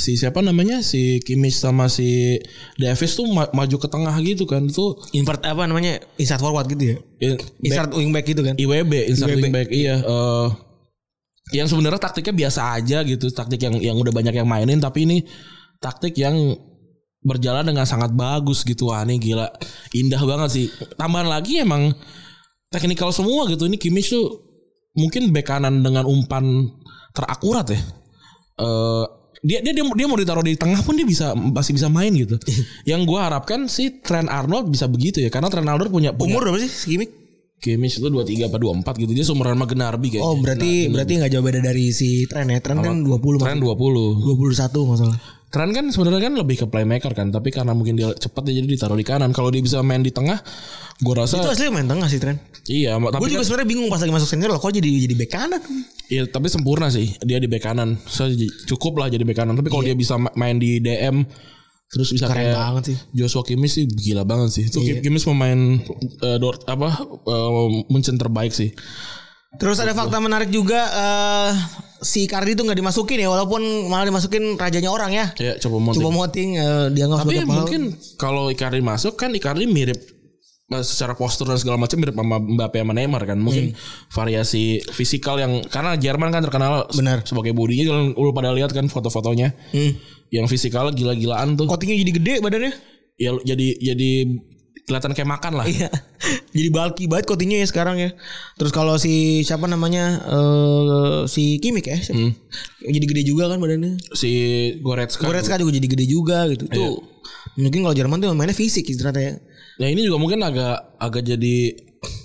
S2: si siapa namanya si Kimmich sama si Davis tuh ma- maju ke tengah gitu kan itu
S3: invert apa namanya insert forward gitu ya
S2: eh, back-
S3: insert wing back gitu kan
S2: IWB insert
S3: IWB.
S2: wingback iya eh, yang sebenarnya taktiknya biasa aja gitu taktik yang yang udah banyak yang mainin tapi ini taktik yang berjalan dengan sangat bagus gitu wah ini gila indah banget sih tambahan lagi emang teknikal semua gitu ini Kimmich tuh mungkin bek kanan dengan umpan terakurat ya eh dia dia dia dia mau ditaruh di tengah pun dia bisa masih bisa main gitu yang gua harapkan si Trent Arnold bisa begitu ya karena Trent Arnold punya, punya
S3: umur berapa sih si Kimmich
S2: Kimmich itu 23 apa 24 gitu. Dia seumuran sama Gnabry kayaknya.
S3: oh berarti berarti nggak jauh beda dari si Tren ya Tren kan 20
S2: Tren
S3: puluh
S2: 20.
S3: 21 masalah
S2: Tren kan sebenarnya kan lebih ke playmaker kan, tapi karena mungkin dia cepat dia jadi ditaruh di kanan. Kalau dia bisa main di tengah, gua
S3: itu
S2: rasa
S3: asli main tengah sih Tren
S2: iya, ma-
S3: gue
S2: tapi
S3: Gitu. juga
S2: kan,
S3: sebenarnya bingung pas lagi masuk senior loh kok jadi jadi back kanan
S2: iya, tapi sempurna sih. Dia di bek kanan. So, j- cukup lah jadi bek kanan. Tapi kalau dia bisa ma- main di DM terus bisa
S3: Iya. keren
S2: kayak
S3: banget Iya. sih
S2: Joshua Kimmich sih gila banget sih. Itu Kim- Kimmich pemain eh, Dort apa eh, Munchen terbaik sih.
S3: Terus ada fakta menarik juga eh si Icardi itu nggak dimasukin ya walaupun malah dimasukin rajanya orang ya.
S2: Ya, coba mau
S3: Coba moting eh,
S2: Tapi
S3: dianggap sebagai pahlawan.
S2: mungkin kalau Icardi masuk kan Icardi mirip eh, secara postur dan segala macam mirip sama Mbappe sama Neymar kan.
S3: Iya.
S2: Mungkin variasi fisikal yang karena Jerman kan terkenal se-
S3: Benar.
S2: sebagai bodinya jangan lu pada lihat kan foto-fotonya. Yang fisikalnya gila-gilaan tuh.
S3: Kotingnya Hmm. jadi gede badannya.
S2: Ya lu- jadi jadi kelihatan kayak makan lah.
S3: Iya. Jadi bulky banget kotingnya ya sekarang ya. Terus kalau si siapa namanya eh si Kimik ya. siapa? Jadi gede juga kan badannya.
S2: Si Goretzka.
S3: Goretzka juga jadi gede juga gitu. Tuh. Mungkin kalau Jerman tuh mainnya fisik sih ternyata ya.
S2: Nah ini juga mungkin agak agak jadi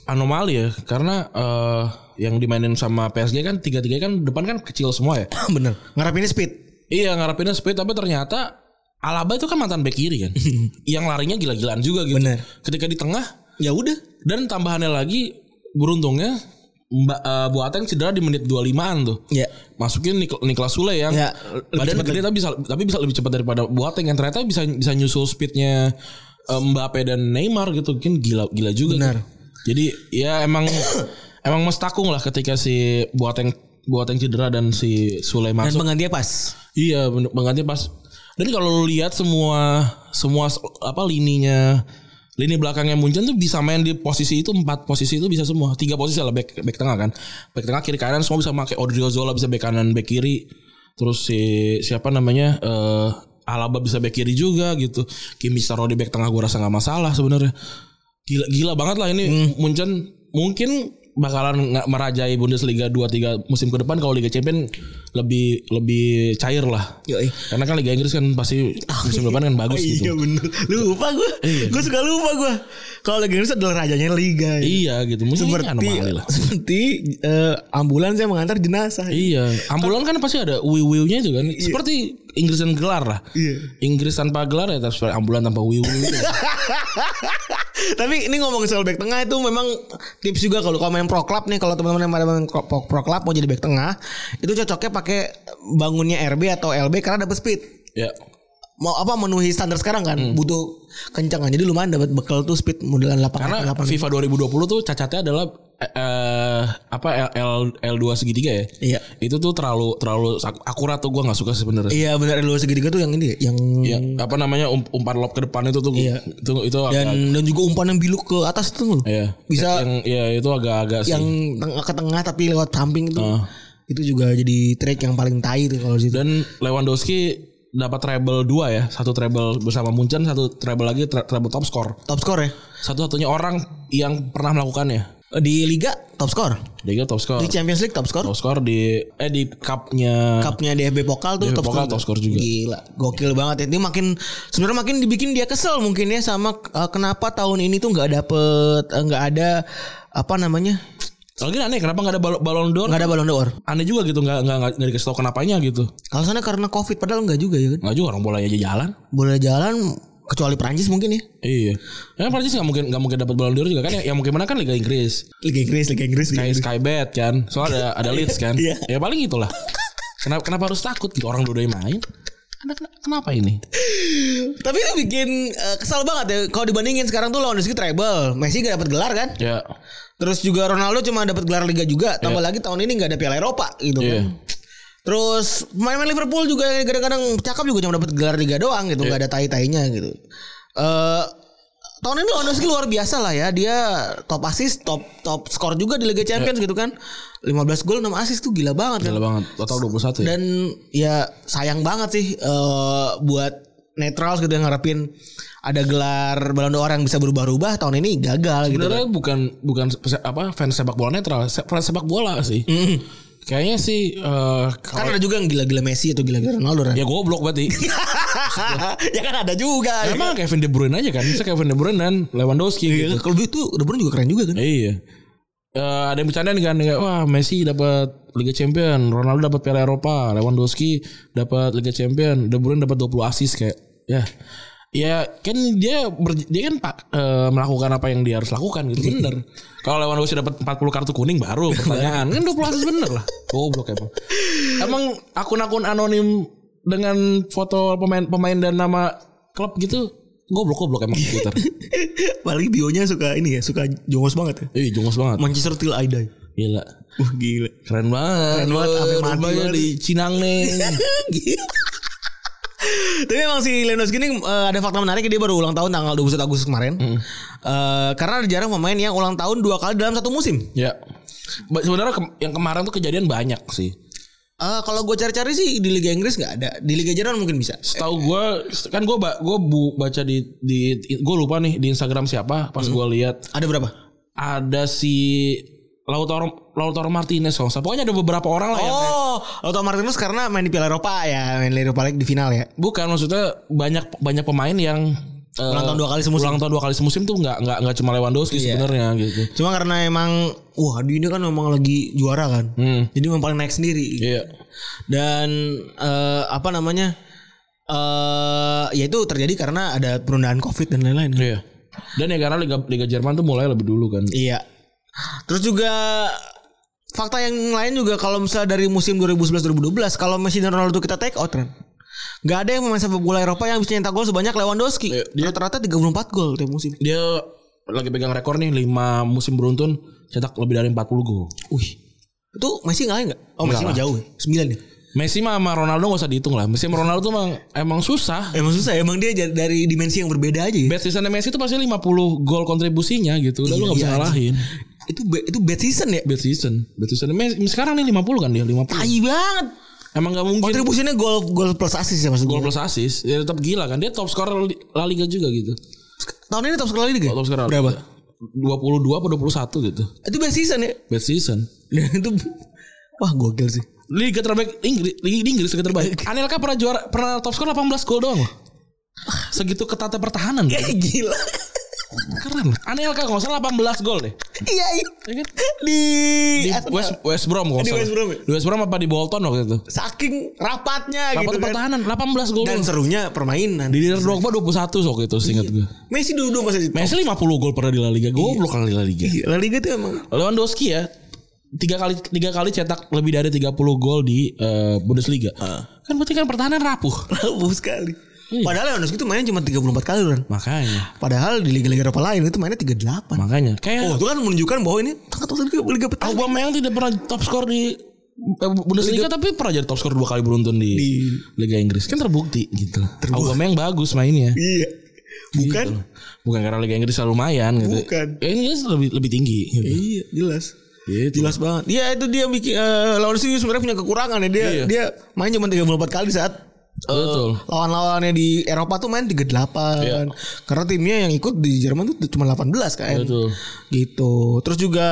S2: anomali ya karena eh, yang dimainin sama PSG kan tiga-tiga kan depan kan kecil semua ya.
S3: Bener. Ngarapinnya speed.
S2: Iya ngarepinnya speed tapi ternyata Alaba itu kan mantan bek kiri kan. yang larinya gila-gilaan juga gitu.
S3: Bener.
S2: Ketika di tengah
S3: Ya udah.
S2: dan tambahannya lagi beruntungnya Mbak eh, Boateng cedera di menit 25-an tuh.
S3: Ya.
S2: Masukin Nik Niklas Sule yang
S3: Ya,
S2: badan
S3: lebih cepat
S2: gede tapi bisa tapi bisa lebih cepat daripada Boateng yang ternyata bisa bisa nyusul speednya eh, Mbappe dan Neymar gitu kan gila gila juga. tuh.
S3: Benar.
S2: Jadi ya emang emang mestakung lah ketika si Boateng Boateng cedera dan si Sule
S3: Dan
S2: masuk.
S3: penggantinya pas.
S2: Iya, ben- pengganti pas. Dan kalau lu lihat semua semua s- apa lininya lini belakangnya Munchen tuh bisa main di posisi itu empat posisi itu bisa semua tiga posisi lah back back tengah kan back tengah kiri kanan semua bisa pakai Odriozola bisa back kanan back kiri terus si siapa namanya eh Alaba bisa back kiri juga gitu Kimi taruh di back tengah gua rasa nggak masalah sebenarnya gila gila banget lah ini
S3: Hmm.
S2: Munchen mungkin bakalan nggak merajai Bundesliga 2 3 musim ke depan kalau Liga Champion lebih lebih cair lah.
S3: Yoi.
S2: Karena kan Liga Inggris kan pasti musim depan kan bagus gitu.
S3: Iya bener. Lupa gue. Gue suka lupa gue. Kalau lagi Indonesia adalah rajanya liga. ya.
S2: Iya gitu. Musim ini
S3: Seperti
S2: anomali lah.
S3: seperti eh, ambulans yang mengantar jenazah.
S2: Iya, ambulan kan pasti ada wiwiunya itu kan. Seperti Inggris dan gelar lah.
S3: Iya.
S2: Inggris tanpa gelar ya tapi ambulan tanpa wiwi.
S3: Tapi ini ngomongin soal back tengah itu memang tips juga kalau kalau main pro club nih kalau teman-teman yang pada main pro, pro- pro club mau jadi back tengah itu cocoknya pakai bangunnya RB atau LB karena dapat speed.
S2: ya.
S3: Mau apa memenuhi standar sekarang kan
S2: Hmm.
S3: butuh kencangan. Jadi lumayan dapat bekal tuh speed modelan lapangan.
S2: Karena
S3: lapangan.
S2: FIFA 2020 tuh cacatnya adalah eh, eh, apa L L 2 segitiga ya.
S3: Iya.
S2: Itu tuh terlalu terlalu ak- akurat tuh gua nggak suka sebenarnya.
S3: Iya benar lu segitiga tuh yang ini ya, yang
S2: Ya, apa namanya um- umpan lob ke depan itu tuh
S3: Iya.
S2: itu itu
S3: dan
S2: agak,
S3: dan juga umpan yang biluk ke atas itu loh.
S2: ya.
S3: Bisa-
S2: yang ya itu agak-agak sih.
S3: Yang tengah ke tengah tapi lewat samping itu.
S2: Ah.
S3: Itu juga jadi track yang paling tai tuh kalau di situ.
S2: Dan Lewandowski dapat treble dua ya, satu treble bersama Munchen, satu treble lagi tre- treble top score.
S3: Top score ya.
S2: Satu-satunya orang yang pernah melakukannya.
S3: Di liga top score.
S2: Dia top score.
S3: Di Champions League top score.
S2: Top score di eh di cupnya
S3: Cupnya DFB Pokal tuh
S2: DFB
S3: top
S2: Pokal
S3: score.
S2: top score juga.
S3: Gila, gokil banget. Ini makin sebenarnya makin dibikin dia kesel mungkin ya sama eh, kenapa tahun ini tuh nggak dapet eh, nggak ada apa namanya
S2: Lagi aneh kenapa nggak ada bal- balon d'Or?
S3: nggak ada Ballon d'Or.
S2: Aneh juga gitu nggak nggak nggak- nggak dikasih tau kenapanya gitu.
S3: Alasannya karena covid padahal nggak juga ya kan.
S2: Nggak juga orang bola aja jalan.
S3: Boleh jalan kecuali Prancis mungkin ya.
S2: Iya. Ya Prancis nggak mungkin nggak mungkin dapat balon d'Or juga kan? Yang mungkin menang kan Liga Inggris.
S3: Liga Inggris, Liga Inggris. gitu. Liga
S2: Sky
S3: Inggris.
S2: Skybet kan. Soalnya ada ada Leeds kan.
S3: Iya.
S2: Ya paling itulah. Kenapa kenapa harus takut gitu orang dua main? Anda ken- kenapa ini?
S3: Tapi itu bikin eh, kesal banget ya. Kalau dibandingin sekarang tuh lawan Indonesia treble, Messi gak dapat gelar kan?
S2: Ya.
S3: Terus juga Ronaldo cuma dapat gelar Liga juga. Tambah lagi tahun ini nggak ada Piala Eropa gitu
S2: Iya.
S3: kan. Terus pemain-pemain Liverpool juga yang kadang-kadang cakep juga cuma dapat gelar Liga doang
S2: Iya.
S3: gitu, nggak ada tai-tainya gitu. Eh tahun ini Lewandowski luar biasa lah ya. Dia top assist, top top skor juga di Liga Champions gitu kan. 15 gol 6 assist tuh gila banget kan.
S2: Iya. Gila banget. Total 21 ya.
S3: Dan ya sayang banget sih eh, buat netral gitu yang ngarepin ada gelar Ballon d'Or yang bisa berubah-ubah tahun ini gagal gitu.
S2: Sebenarnya bukan bukan pese- apa fans sepak bola netral, se- fans sepak bola sih. Kayaknya sih eh,
S3: Kan
S2: kalau
S3: ada juga yang gila-gila Messi atau gila-gila Ronaldo kan?
S2: ya goblok berarti.
S3: Iya. ya kan ada juga. Ya
S2: Emang Kevin De Bruyne aja kan. Bisa Kevin De Bruyne dan Lewandowski gitu.
S3: kan? Kalau itu De Bruyne juga keren juga kan?
S2: Iya. Eh, ada yang bercanda nih kan kayak, wah Messi dapat Liga Champion, Ronaldo dapat Piala Eropa, Lewandowski dapat Liga Champion, De Bruyne dapat 20 assist kayak ya. Ya kan dia ber- dia kan pak eh, melakukan apa yang dia harus lakukan gitu bener. Kalau Lewandowski dapat 40 kartu kuning baru pertanyaan kan 20 assist bener lah. Goblok emang. Emang akun-akun anonim dengan foto pemain pemain dan nama klub gitu goblok goblok emang di Twitter.
S3: Paling bionya suka ini ya, suka jongos banget ya.
S2: Ih jongos banget.
S3: Manchester till I die.
S2: Gila.
S3: Wah gila.
S2: Keren banget.
S3: Keren banget, sampai mati
S2: Rumahnya
S3: banget.
S2: di Cinangneng.
S3: Gila. Tapi emang si Lewandowski ini eh, ada fakta menarik dia baru ulang tahun tanggal 21 Agustus kemarin. Eh, karena ada jarang pemain yang ulang tahun dua kali dalam satu musim.
S2: Ya. Ba- Sebenarnya ke- yang kemarin tuh kejadian banyak sih.
S3: Eh, kalau gue cari-cari sih di Liga Inggris nggak ada. Di Liga Jerman mungkin bisa.
S2: Setahu gue kan gue gue baca di di gue lupa nih di Instagram siapa pas
S3: Hmm.
S2: gue lihat
S3: Ada berapa?
S2: ada si Lautaro Lautaro Martinez kalau nggak salah. Pokoknya ada beberapa orang lah ya. yang
S3: Oh, Lautaro Martinez karena main di Piala Eropa ya, main di Eropa League di final ya.
S2: bukan maksudnya banyak banyak pemain yang eh,
S3: Ulang tahun dua kali semusim.
S2: Ulang tahun dua kali semusim tuh nggak nggak nggak cuma
S3: Iya.
S2: Lewandowski sebenarnya gitu.
S3: Cuma karena emang wah di ini kan memang lagi juara kan.
S2: Hmm.
S3: Jadi memang paling naik sendiri.
S2: Iya.
S3: Dan eh, apa namanya? Eh ya itu terjadi karena ada penundaan Covid dan lain-lain.
S2: Iya. Dan ya karena Liga, Liga Jerman tuh mulai lebih dulu kan.
S3: Iya. Terus juga fakta yang lain juga kalau misalnya dari musim 2011-2012 kalau Messi dan Ronaldo kita take out kan. Gak ada yang pemain sepak bola Eropa yang bisa nyetak gol sebanyak Lewandowski.
S2: Iya.
S3: Rata-rata 34 gol tiap musim.
S2: Dia lagi pegang rekor nih 5 musim beruntun cetak lebih dari 40 gol.
S3: Wih. Itu Messi ngalahin enggak? Oh, Messi mah jauh ya. 9 ya.
S2: Messi mah sama Ronaldo gak usah dihitung lah. Messi sama Ronaldo tuh emang, emang susah.
S3: Emang susah, Eh, emang dia jar- dari dimensi yang berbeda aja ya.
S2: Best seasonnya Messi tuh pasti 50 gol kontribusinya gitu. Udah lu gak bisa
S3: Iya,
S2: ngalahin.
S3: itu be- itu bad season ya.
S2: Best season. Best season. Messi, sekarang nih 50 kan dia 50.
S3: Tai banget.
S2: Emang gak mungkin.
S3: Kontribusinya gol gol plus assist ya maksud
S2: Gol
S3: gue.
S2: plus assist. Ya tetap gila kan. Dia top scorer La Liga juga gitu.
S3: Tahun ini top skor liga.
S2: Top scorer.
S3: Berapa?
S2: 22 atau 21 gitu.
S3: Itu bad season ya.
S2: Best season.
S3: Dan itu wah gokil sih.
S2: Liga terbaik Inggris, Liga di Inggris liga terbaik. Anelka pernah juara pernah top skor 18 gol doang. loh. Segitu ketatnya pertahanan.
S3: Eh, Gila.
S2: Keren. Anelka kalau nggak salah 18 gol deh.
S3: Iya, iya.
S2: Ya kan?
S3: Di,
S2: Di West, West Brom kalau nggak
S3: Di
S2: salah.
S3: West Brom ya?
S2: Di West Brom apa di Bolton waktu itu?
S3: saking rapatnya
S2: Rapat
S3: gitu kan.
S2: pertahanan 18 gol.
S3: Dan serunya permainan.
S2: Di Didier Drogba 21 waktu itu seingat
S3: Iya.
S2: gue.
S3: Messi dulu masa di
S2: Messi 50 gol pernah di La Liga.
S3: Iya.
S2: Goblok kali La Liga.
S3: La Liga tuh emang
S2: Lewandowski ya tiga kali tiga kali cetak lebih dari 30 gol di eh, Bundesliga.
S3: Ah.
S2: Kan berarti kan pertahanan rapuh.
S3: rapuh sekali.
S2: Iya.
S3: Padahal Lewandowski tuh mainnya cuma 34 kali kan.
S2: Makanya,
S3: Padahal di liga-liga Eropa lain itu mainnya 38.
S2: makanya. Kayak
S3: Oh, itu kan menunjukkan bahwa ini sangat toksik liga, liga petani.
S2: Aubameyang tidak pernah top skor di eh, Bundesliga tapi pernah jadi top skor dua kali beruntun di,
S3: Di-
S2: Liga Inggris kan terbukti gitu. Aubameyang bagus mainnya.
S3: Iya. Bukan?
S2: Gitu. Bukan karena Liga Inggris lumayan gitu.
S3: Bukan.
S2: Ya, Inggris lebih lebih tinggi. Gitu.
S3: Iya, jelas.
S2: Gitu.
S3: Jelas banget. Iya, itu dia bikin eh, lawan sini sebenarnya punya kekurangan ya dia.
S2: Iya.
S3: Dia main cuma 34 kali saat eh,
S2: Betul.
S3: lawan-lawannya di Eropa tuh main 38.
S2: Iya.
S3: Karena timnya yang ikut di Jerman tuh cuma 18 kan.
S2: Betul.
S3: Gitu. Terus juga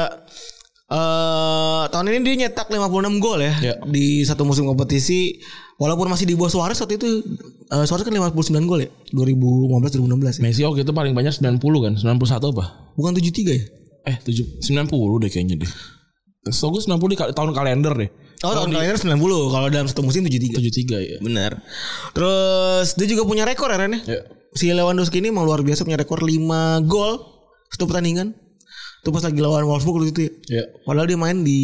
S3: eh tahun ini dia nyetak 56 gol ya
S2: Iya.
S3: di satu musim kompetisi walaupun masih di bawah Suarez waktu itu eh, Suarez kan 59 gol ya 2015 2016 ya.
S2: Messi waktu itu paling banyak 90 kan? 91 apa?
S3: Bukan 73 ya?
S2: Eh, 7, 90 deh kayaknya deh. Setahu gue 90 di ka- tahun kalender deh.
S3: Oh, tahun kalender 90 kalau dalam satu musim 73.
S2: 73 ya.
S3: Benar. Terus dia juga punya rekor ya Ren ya?
S2: Ya.
S3: Si Lewandowski ini emang luar biasa punya rekor 5 gol satu pertandingan. Itu pas lagi lawan Wolfsburg waktu itu ya.
S2: Ya.
S3: Padahal dia main di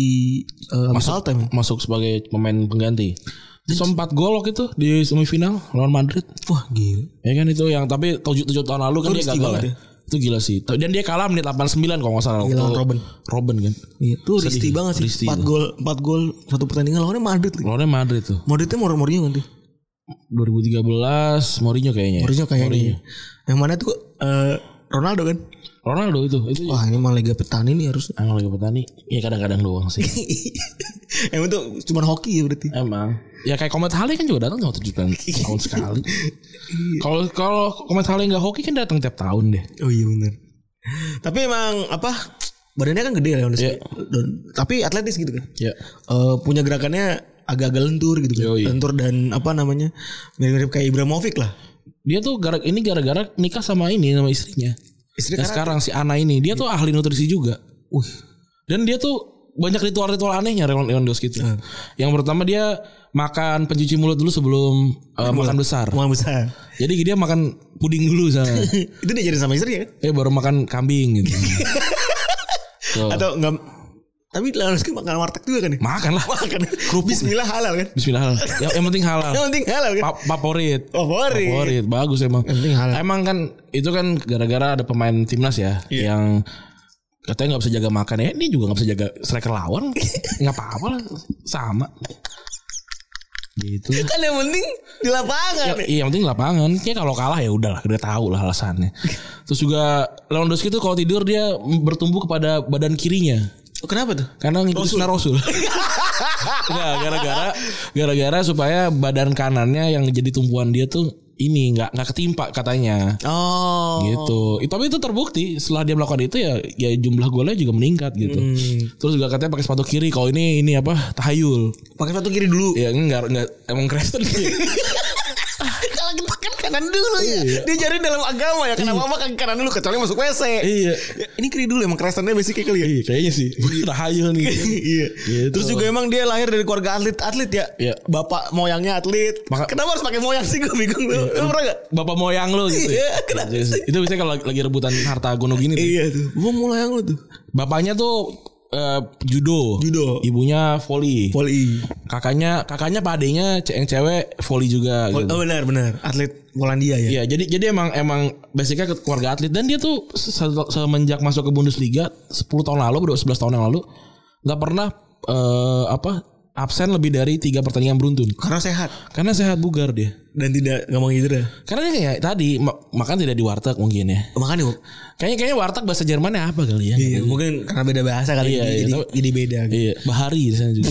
S3: uh, habis halftime ya.
S2: Masuk sebagai pemain pengganti. Terus 4 gol waktu itu di semifinal lawan Madrid.
S3: Wah, gila.
S2: Ya kan itu yang tapi 7, 7 tahun lalu kan
S3: Itu
S2: dia
S3: risky
S2: gagal.
S3: banget
S2: Ya. Itu gila sih. Tapi- Dan dia kalah menit 89 kalau enggak salah.
S3: Gila,
S2: Waktu-
S3: Robben.
S2: Robben kan.
S3: Itu risti banget sih.
S2: Risti
S3: 4 gol, 4 gol satu pertandingan lawannya Madrid. lagi.
S2: Lawannya Madrid tuh.
S3: Madridnya Mor Mourinho kan tuh.
S2: 2013 Mourinho kayaknya. ya.
S3: Mourinho kayaknya. Yang mana tuh eh, Ronaldo kan.
S2: Ronaldo itu. Itu
S3: Wah, ini mah Liga Petani nih harusnya.
S2: emang lagi petani. Ya kadang-kadang doang sih.
S3: Emang tuh cuman hoki ya berarti.
S2: Emang. Ya kayak Komet Hale kan juga datang cuma 7 tahun, tahun sekali. Kalau kalau Komet Hale nggak hoki kan datang tiap tahun deh.
S3: Oh iya benar. Tapi emang apa badannya kan gede Leonis.
S2: Iya.
S3: Dan- tapi atletis gitu kan.
S2: Ya.
S3: Eh, punya gerakannya agak-agak lentur gitu kan.
S2: Yoi.
S3: Lentur dan apa namanya? mirip-mirip kayak Ibrahimovic lah.
S2: Dia tuh gara ini gara-gara nikah sama ini sama istrinya.
S3: Istri
S2: Yang sekarang si Ana ini dia tuh ahli nutrisi juga.
S3: Wih.
S2: Dan dia tuh banyak ritual-ritual anehnya Leon Lewandowski
S3: Hmm.
S2: itu. Yang pertama dia makan pencuci mulut dulu sebelum eh, makan besar.
S3: Mau besar.
S2: Jadi dia makan puding dulu sama
S3: Itu diajarin sama istri ya kan?
S2: eh baru makan kambing gitu. Tuh.
S3: Atau enggak Tapi Leonis kan makan warteg juga kan ya?
S2: Makan lah.
S3: Makan. Bismillah halal kan?
S2: Bismillah. Yang, yang penting halal.
S3: Yang penting halal kan?
S2: Pa- Favorit.
S3: Favorit.
S2: Favorit bagus emang.
S3: penting halal.
S2: Emang kan itu kan gara-gara ada pemain timnas ya yang katanya nggak bisa jaga makan ya ini juga nggak bisa jaga striker lawan nggak apa-apa lah sama Gitu.
S3: Kan yang penting di lapangan. ya?
S2: Iya, yang penting lapangan. Kayak kalau kalah ya udahlah, udah tahu lah alasannya. Terus juga Lewandowski tuh kalau tidur dia bertumbuh kepada badan kirinya.
S3: Kenapa tuh?
S2: Karena ngikutin sunnah Rasul. Enggak, gara-gara gara-gara supaya badan kanannya yang jadi tumpuan dia tuh ini nggak nggak ketimpa katanya.
S3: Oh.
S2: Gitu. Itu tapi itu terbukti setelah dia melakukan itu ya ya jumlah golnya juga meningkat gitu.
S3: Hmm.
S2: Terus juga katanya pakai sepatu kiri. Kalau ini ini apa? Tahayul.
S3: Pakai sepatu kiri dulu.
S2: Ya enggak enggak emang Kristen.
S3: Kalau kita kan kanan dulu ya. Dia cari dalam agama ya. Kenapa apa kan kanan dulu kecuali masuk WC.
S2: iya.
S3: Ini kiri dulu emang kerasannya basicnya kali ya.
S2: Iya, kayaknya sih. Tahayul nih.
S3: Iya.
S2: Gitu.
S3: Terus juga emang dia lahir dari keluarga atlet-atlet ya.
S2: Iya.
S3: Bapak moyangnya atlet.
S2: Maka-
S3: Kenapa harus pakai moyang sih gue bingung tuh. Lu pernah gak?
S2: Bapak moyang lo gitu. ya.
S3: Iya, kenapa
S2: Iya, itu biasanya kalau lagi, lagi rebutan harta gono gini tuh.
S3: Iya tuh. Gua mulai yang lu tuh.
S2: Bapaknya tuh eh, judo.
S3: Judo.
S2: Ibunya volley.
S3: Volley.
S2: Kakaknya kakaknya padenya yang cewek volley juga gitu.
S3: Oh benar benar. Atlet Polandia ya.
S2: Iya, jadi jadi emang emang basicnya ke- keluarga atlet dan dia tuh se- semenjak masuk ke Bundesliga 10 tahun lalu, berdua 11 tahun yang lalu nggak pernah eh, apa absen lebih dari tiga pertandingan beruntun.
S3: Karena sehat
S2: Karena sehat bugar dia.
S3: dan tidak gampang cedera.
S2: Karena dia kayak tadi ma- makan tidak di warteg mungkin ya.
S3: Makanya
S2: Kayaknya kayaknya warteg bahasa Jermannya apa kali ya?
S3: Iya, mungkin karena beda bahasa kali
S2: Iya,
S3: jadi,
S2: iya,
S3: jadi,
S2: tapi-
S3: jadi beda. Gitu.
S2: Iya, bahari di sana juga.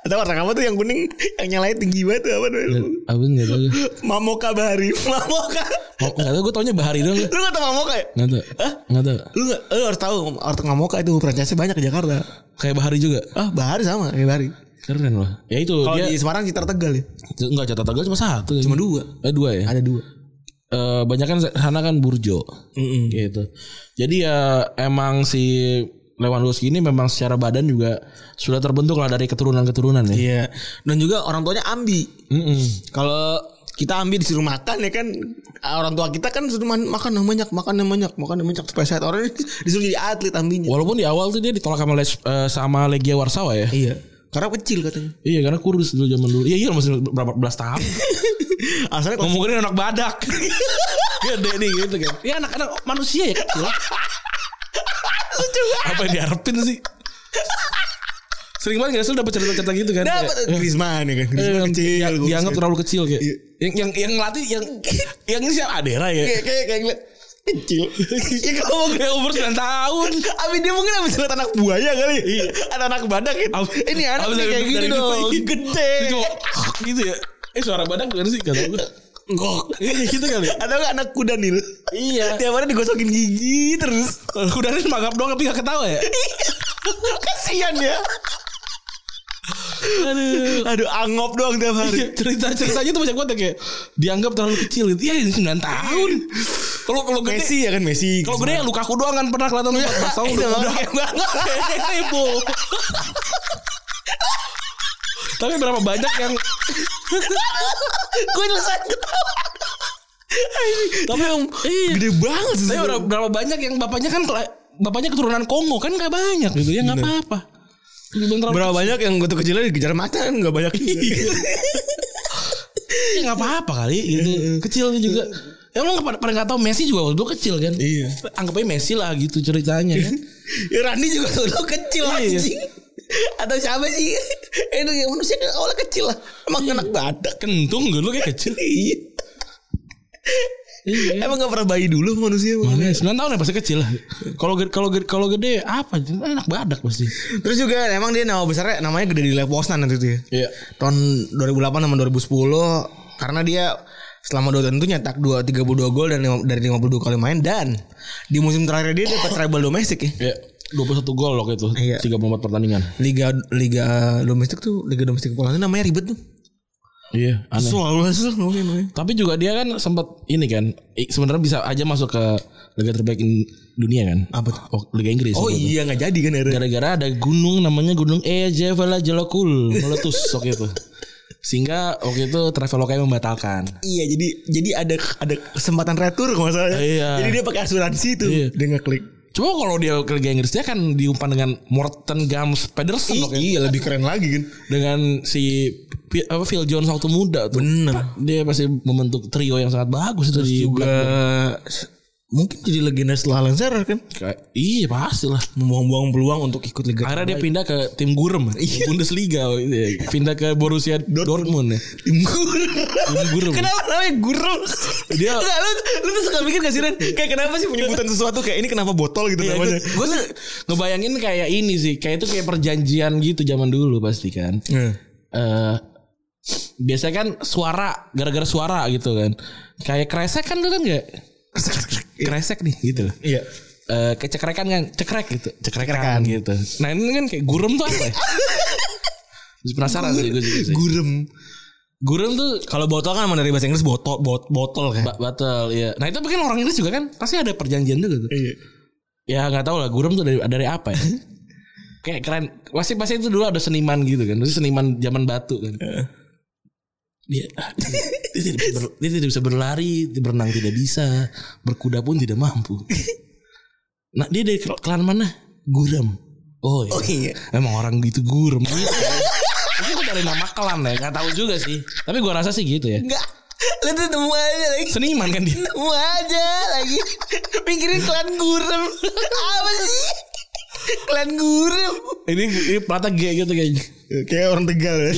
S3: Atau warna kamu tuh yang kuning yang nyalain tinggi banget tuh apa namanya?
S2: Aku enggak tahu.
S3: Mamoka Bahari. Mamoka.
S2: Oh, enggak tahu gue taunya bahari doang.
S3: Lu gak tau Mamoka ya?
S2: Enggak tahu. Enggak tahu.
S3: Lu gak, lu harus tahu Ortek Mamoka itu franchise banyak di Jakarta.
S2: Kayak bahari juga.
S3: Ah, Bahari sama kayak Bahari.
S2: Keren loh. Ya itu
S3: Kalau
S2: dia
S3: di Hmm. Semarang Citra Tegal ya.
S2: enggak catat tegal cuma satu.
S3: Cuma dua.
S2: Eh dua ya.
S3: Ada dua.
S2: Eh banyak kan sana kan burjo. Gitu. Jadi ya emang si Lewandowski ini memang secara badan juga sudah terbentuk lah dari keturunan-keturunan ya.
S3: Iya. Dan juga orang tuanya ambi.
S2: Mm-mm.
S3: Hmm. Kalau kita ambil disuruh makan ya kan orang tua kita kan suruh man- makan yang banyak makan yang banyak makan yang banyak supaya sehat orang ini disuruh jadi atlet ambinya
S2: Walaupun di awal tuh dia ditolak sama Les- eh, sama Legia Warsawa ya.
S3: iya karena kecil katanya
S2: Iya karena kurus dulu zaman dulu. Iya iya masih berapa belas tahun.
S3: asalnya Iya, kalau
S2: Ngomongin anak badak. Gede nih gitu kan. Ya anak-anak manusia ya kecil. Apa yang diharapin sih? Sering banget gak sih lu dapet cerita-cerita gitu kan?
S3: dapat
S2: Kayak,
S3: Griezmann ya kan
S2: eh,
S3: Griezmann
S2: yang-
S3: kecil
S2: yang
S3: kurus,
S2: dianggap
S3: kan.
S2: terlalu kecil kayak.
S3: Iya.
S2: Yang yang yang latih yang yang ini siapa Adera ya?
S3: kayak kayak kayak ngeliat, kecil ya Iya. kalau mau
S2: Ya umur 9 tahun.
S3: Abi dia mungkin habis lihat anak buaya kali. Ada anak badak gitu.
S2: Ab-
S3: Ini anak
S2: abis
S3: nih
S2: dari-
S3: kayak gini
S2: dari gitu,
S3: dong.
S2: iya.
S3: Gede.
S2: Dia cuma, gitu ya. Eh suara badak gimana sih? Gak tau gue.
S3: Ngok.
S2: Iya gitu kali.
S3: Ada nggak anak kuda Nil?
S2: Iya.
S3: Tiap hari digosokin gigi terus.
S2: Kudarin mangap doang tapi gak ketawa ya.
S3: Kasihan ya. Iya.
S2: Aduh.
S3: Aduh angop doang tiap hari.
S2: Iya, cerita ceritanya tuh banyak banget yang kayak dianggap terlalu kecil gitu. Iya, ini 9 tahun. Kalau kalau gede
S3: Messi ya kan Messi.
S2: kalau gede ya Lukaku doang kan pernah kelihatan 14 tahun udah udah kayak kepo. Tapi berapa banyak yang
S3: Gue selesai ketawa.
S2: tapi yang
S3: Gede banget sih.
S2: Iya. tapi berapa, berapa banyak yang bapaknya kan kela- bapaknya keturunan Kongo kan nggak banyak gitu ya nggak apa-apa. Dibilang terlalu
S3: Berapa banyak yang gue tuh kecilnya dikejar macan nggak banyak. Iya.
S2: kecil, ya nggak apa-apa kali gitu. Kecilnya juga. Emang pada pada nggak tahu Messi juga waktu itu kecil kan.
S3: Iya.
S2: Anggap aja Messi lah gitu ceritanya kan.
S3: Ya Randi juga dulu kecil
S2: Iya.
S3: anjing. Atau siapa sih? Eh itu yang manusia kan awalnya kecil lah. Emang anak badak.
S2: Kentung gue dulu kayak kecil.
S3: Iya. Emang gak pernah bayi dulu manusia Bang?
S2: Iya. Mana sembilan tahun ya pasti kecil lah. Kalau gede, kalau gede, kalau gede apa? Anak badak pasti.
S3: Terus juga emang dia nama besarnya namanya gede di Lev Poznan nanti tuh ya.
S2: Iya.
S3: Tahun 2008 sama 2010 karena dia selama dua tahun itu nyetak 2 32 gol dan lima- dari 52 kali main dan di musim terakhir dia dapat treble domestik ya.
S2: Iya. 21 gol waktu itu.
S3: Iya.
S2: 34 pertandingan.
S3: Liga liga domestik tuh liga domestik Polandia namanya ribet tuh.
S2: Iya, aneh.
S3: Selalu hasil namanya, namanya.
S2: Tapi juga dia kan sempat ini kan i- sebenarnya bisa aja masuk ke liga terbaik in- dunia kan.
S3: Apa tuh?
S2: Oh, Liga Inggris.
S3: Oh
S2: waktu itu.
S3: iya nggak jadi kan akhirnya.
S2: Gara-gara ada gunung namanya Gunung Ejafala Jalakul meletus waktu itu. Sehingga waktu itu Traveloka membatalkan.
S3: Iya jadi jadi ada ada kesempatan retur kalau nggak salah.
S2: Iya.
S3: Jadi dia pakai asuransi itu.
S2: Iya.
S3: Dia ngeklik.
S2: Cuma kalau dia ke Liga Inggris dia kan diumpan dengan Morten Gams Pedersen waktu itu.
S3: iya lebih keren lagi kan.
S2: dengan si Pi- apa Phil Jones waktu muda tuh.
S3: Bener.
S2: Dia masih membentuk trio yang sangat bagus itu di
S3: Juga mungkin jadi legenda setelah Lancer kan
S2: Kayak- Iya pasti lah.
S3: membuang-buang peluang untuk ikut liga
S2: Akhirnya dia pindah ke tim Gurem,
S3: Iya.
S2: Bundesliga, gitu ya. pindah ke Borussia Dortmund. ya.
S3: tim gurem
S2: Tim Gurem.
S3: kenapa namanya gurem
S2: Dia-
S3: Nggak, lu, lu tuh suka mikir gak sih Ren kayak kenapa sih penyebutan sesuatu kayak ini kenapa botol
S2: Iya,
S3: gitu namanya
S2: Gue tuh ngebayangin kayak ini sih, kayak itu kayak perjanjian gitu zaman dulu pasti kan.
S3: Iya.
S2: Eh, biasanya kan suara gara-gara suara gitu kan. Kayak kresek kan lu kan enggak? Kresek nih gitu loh.
S3: iya
S2: Eh, kayak cekrekan kan cekrek gitu cekrekan, gitu nah ini kan kayak gurem tuh apa ya penasaran sih gue juga sih
S3: gurem
S2: gurem tuh
S3: kalau botol kan emang dari bahasa Inggris botol bot, botol kan
S2: ba- batal ya nah itu mungkin orang Inggris juga kan pasti ada perjanjian juga tuh
S3: iya
S2: ya nggak tahu lah gurem tuh dari dari apa ya kayak keren pasti pasti itu dulu ada seniman gitu kan pasti seniman zaman batu kan dia, ah, dia, tidak bisa ber- dia tidak bisa berlari berenang tidak bisa berkuda pun tidak mampu nah dia dari kel- klan mana gurem oh iya,
S3: Oh, iya.
S2: emang orang gitu gurem gitu Mungkin itu dari nama klan ya nggak tahu juga sih tapi gua rasa sih gitu ya
S3: enggak lu tuh nemu aja lagi
S2: seniman kan dia
S3: nemu aja lagi pikirin klan gurem apa sih klan gurem
S2: ini, ini plata G gitu kayaknya
S3: kayak orang tegal ya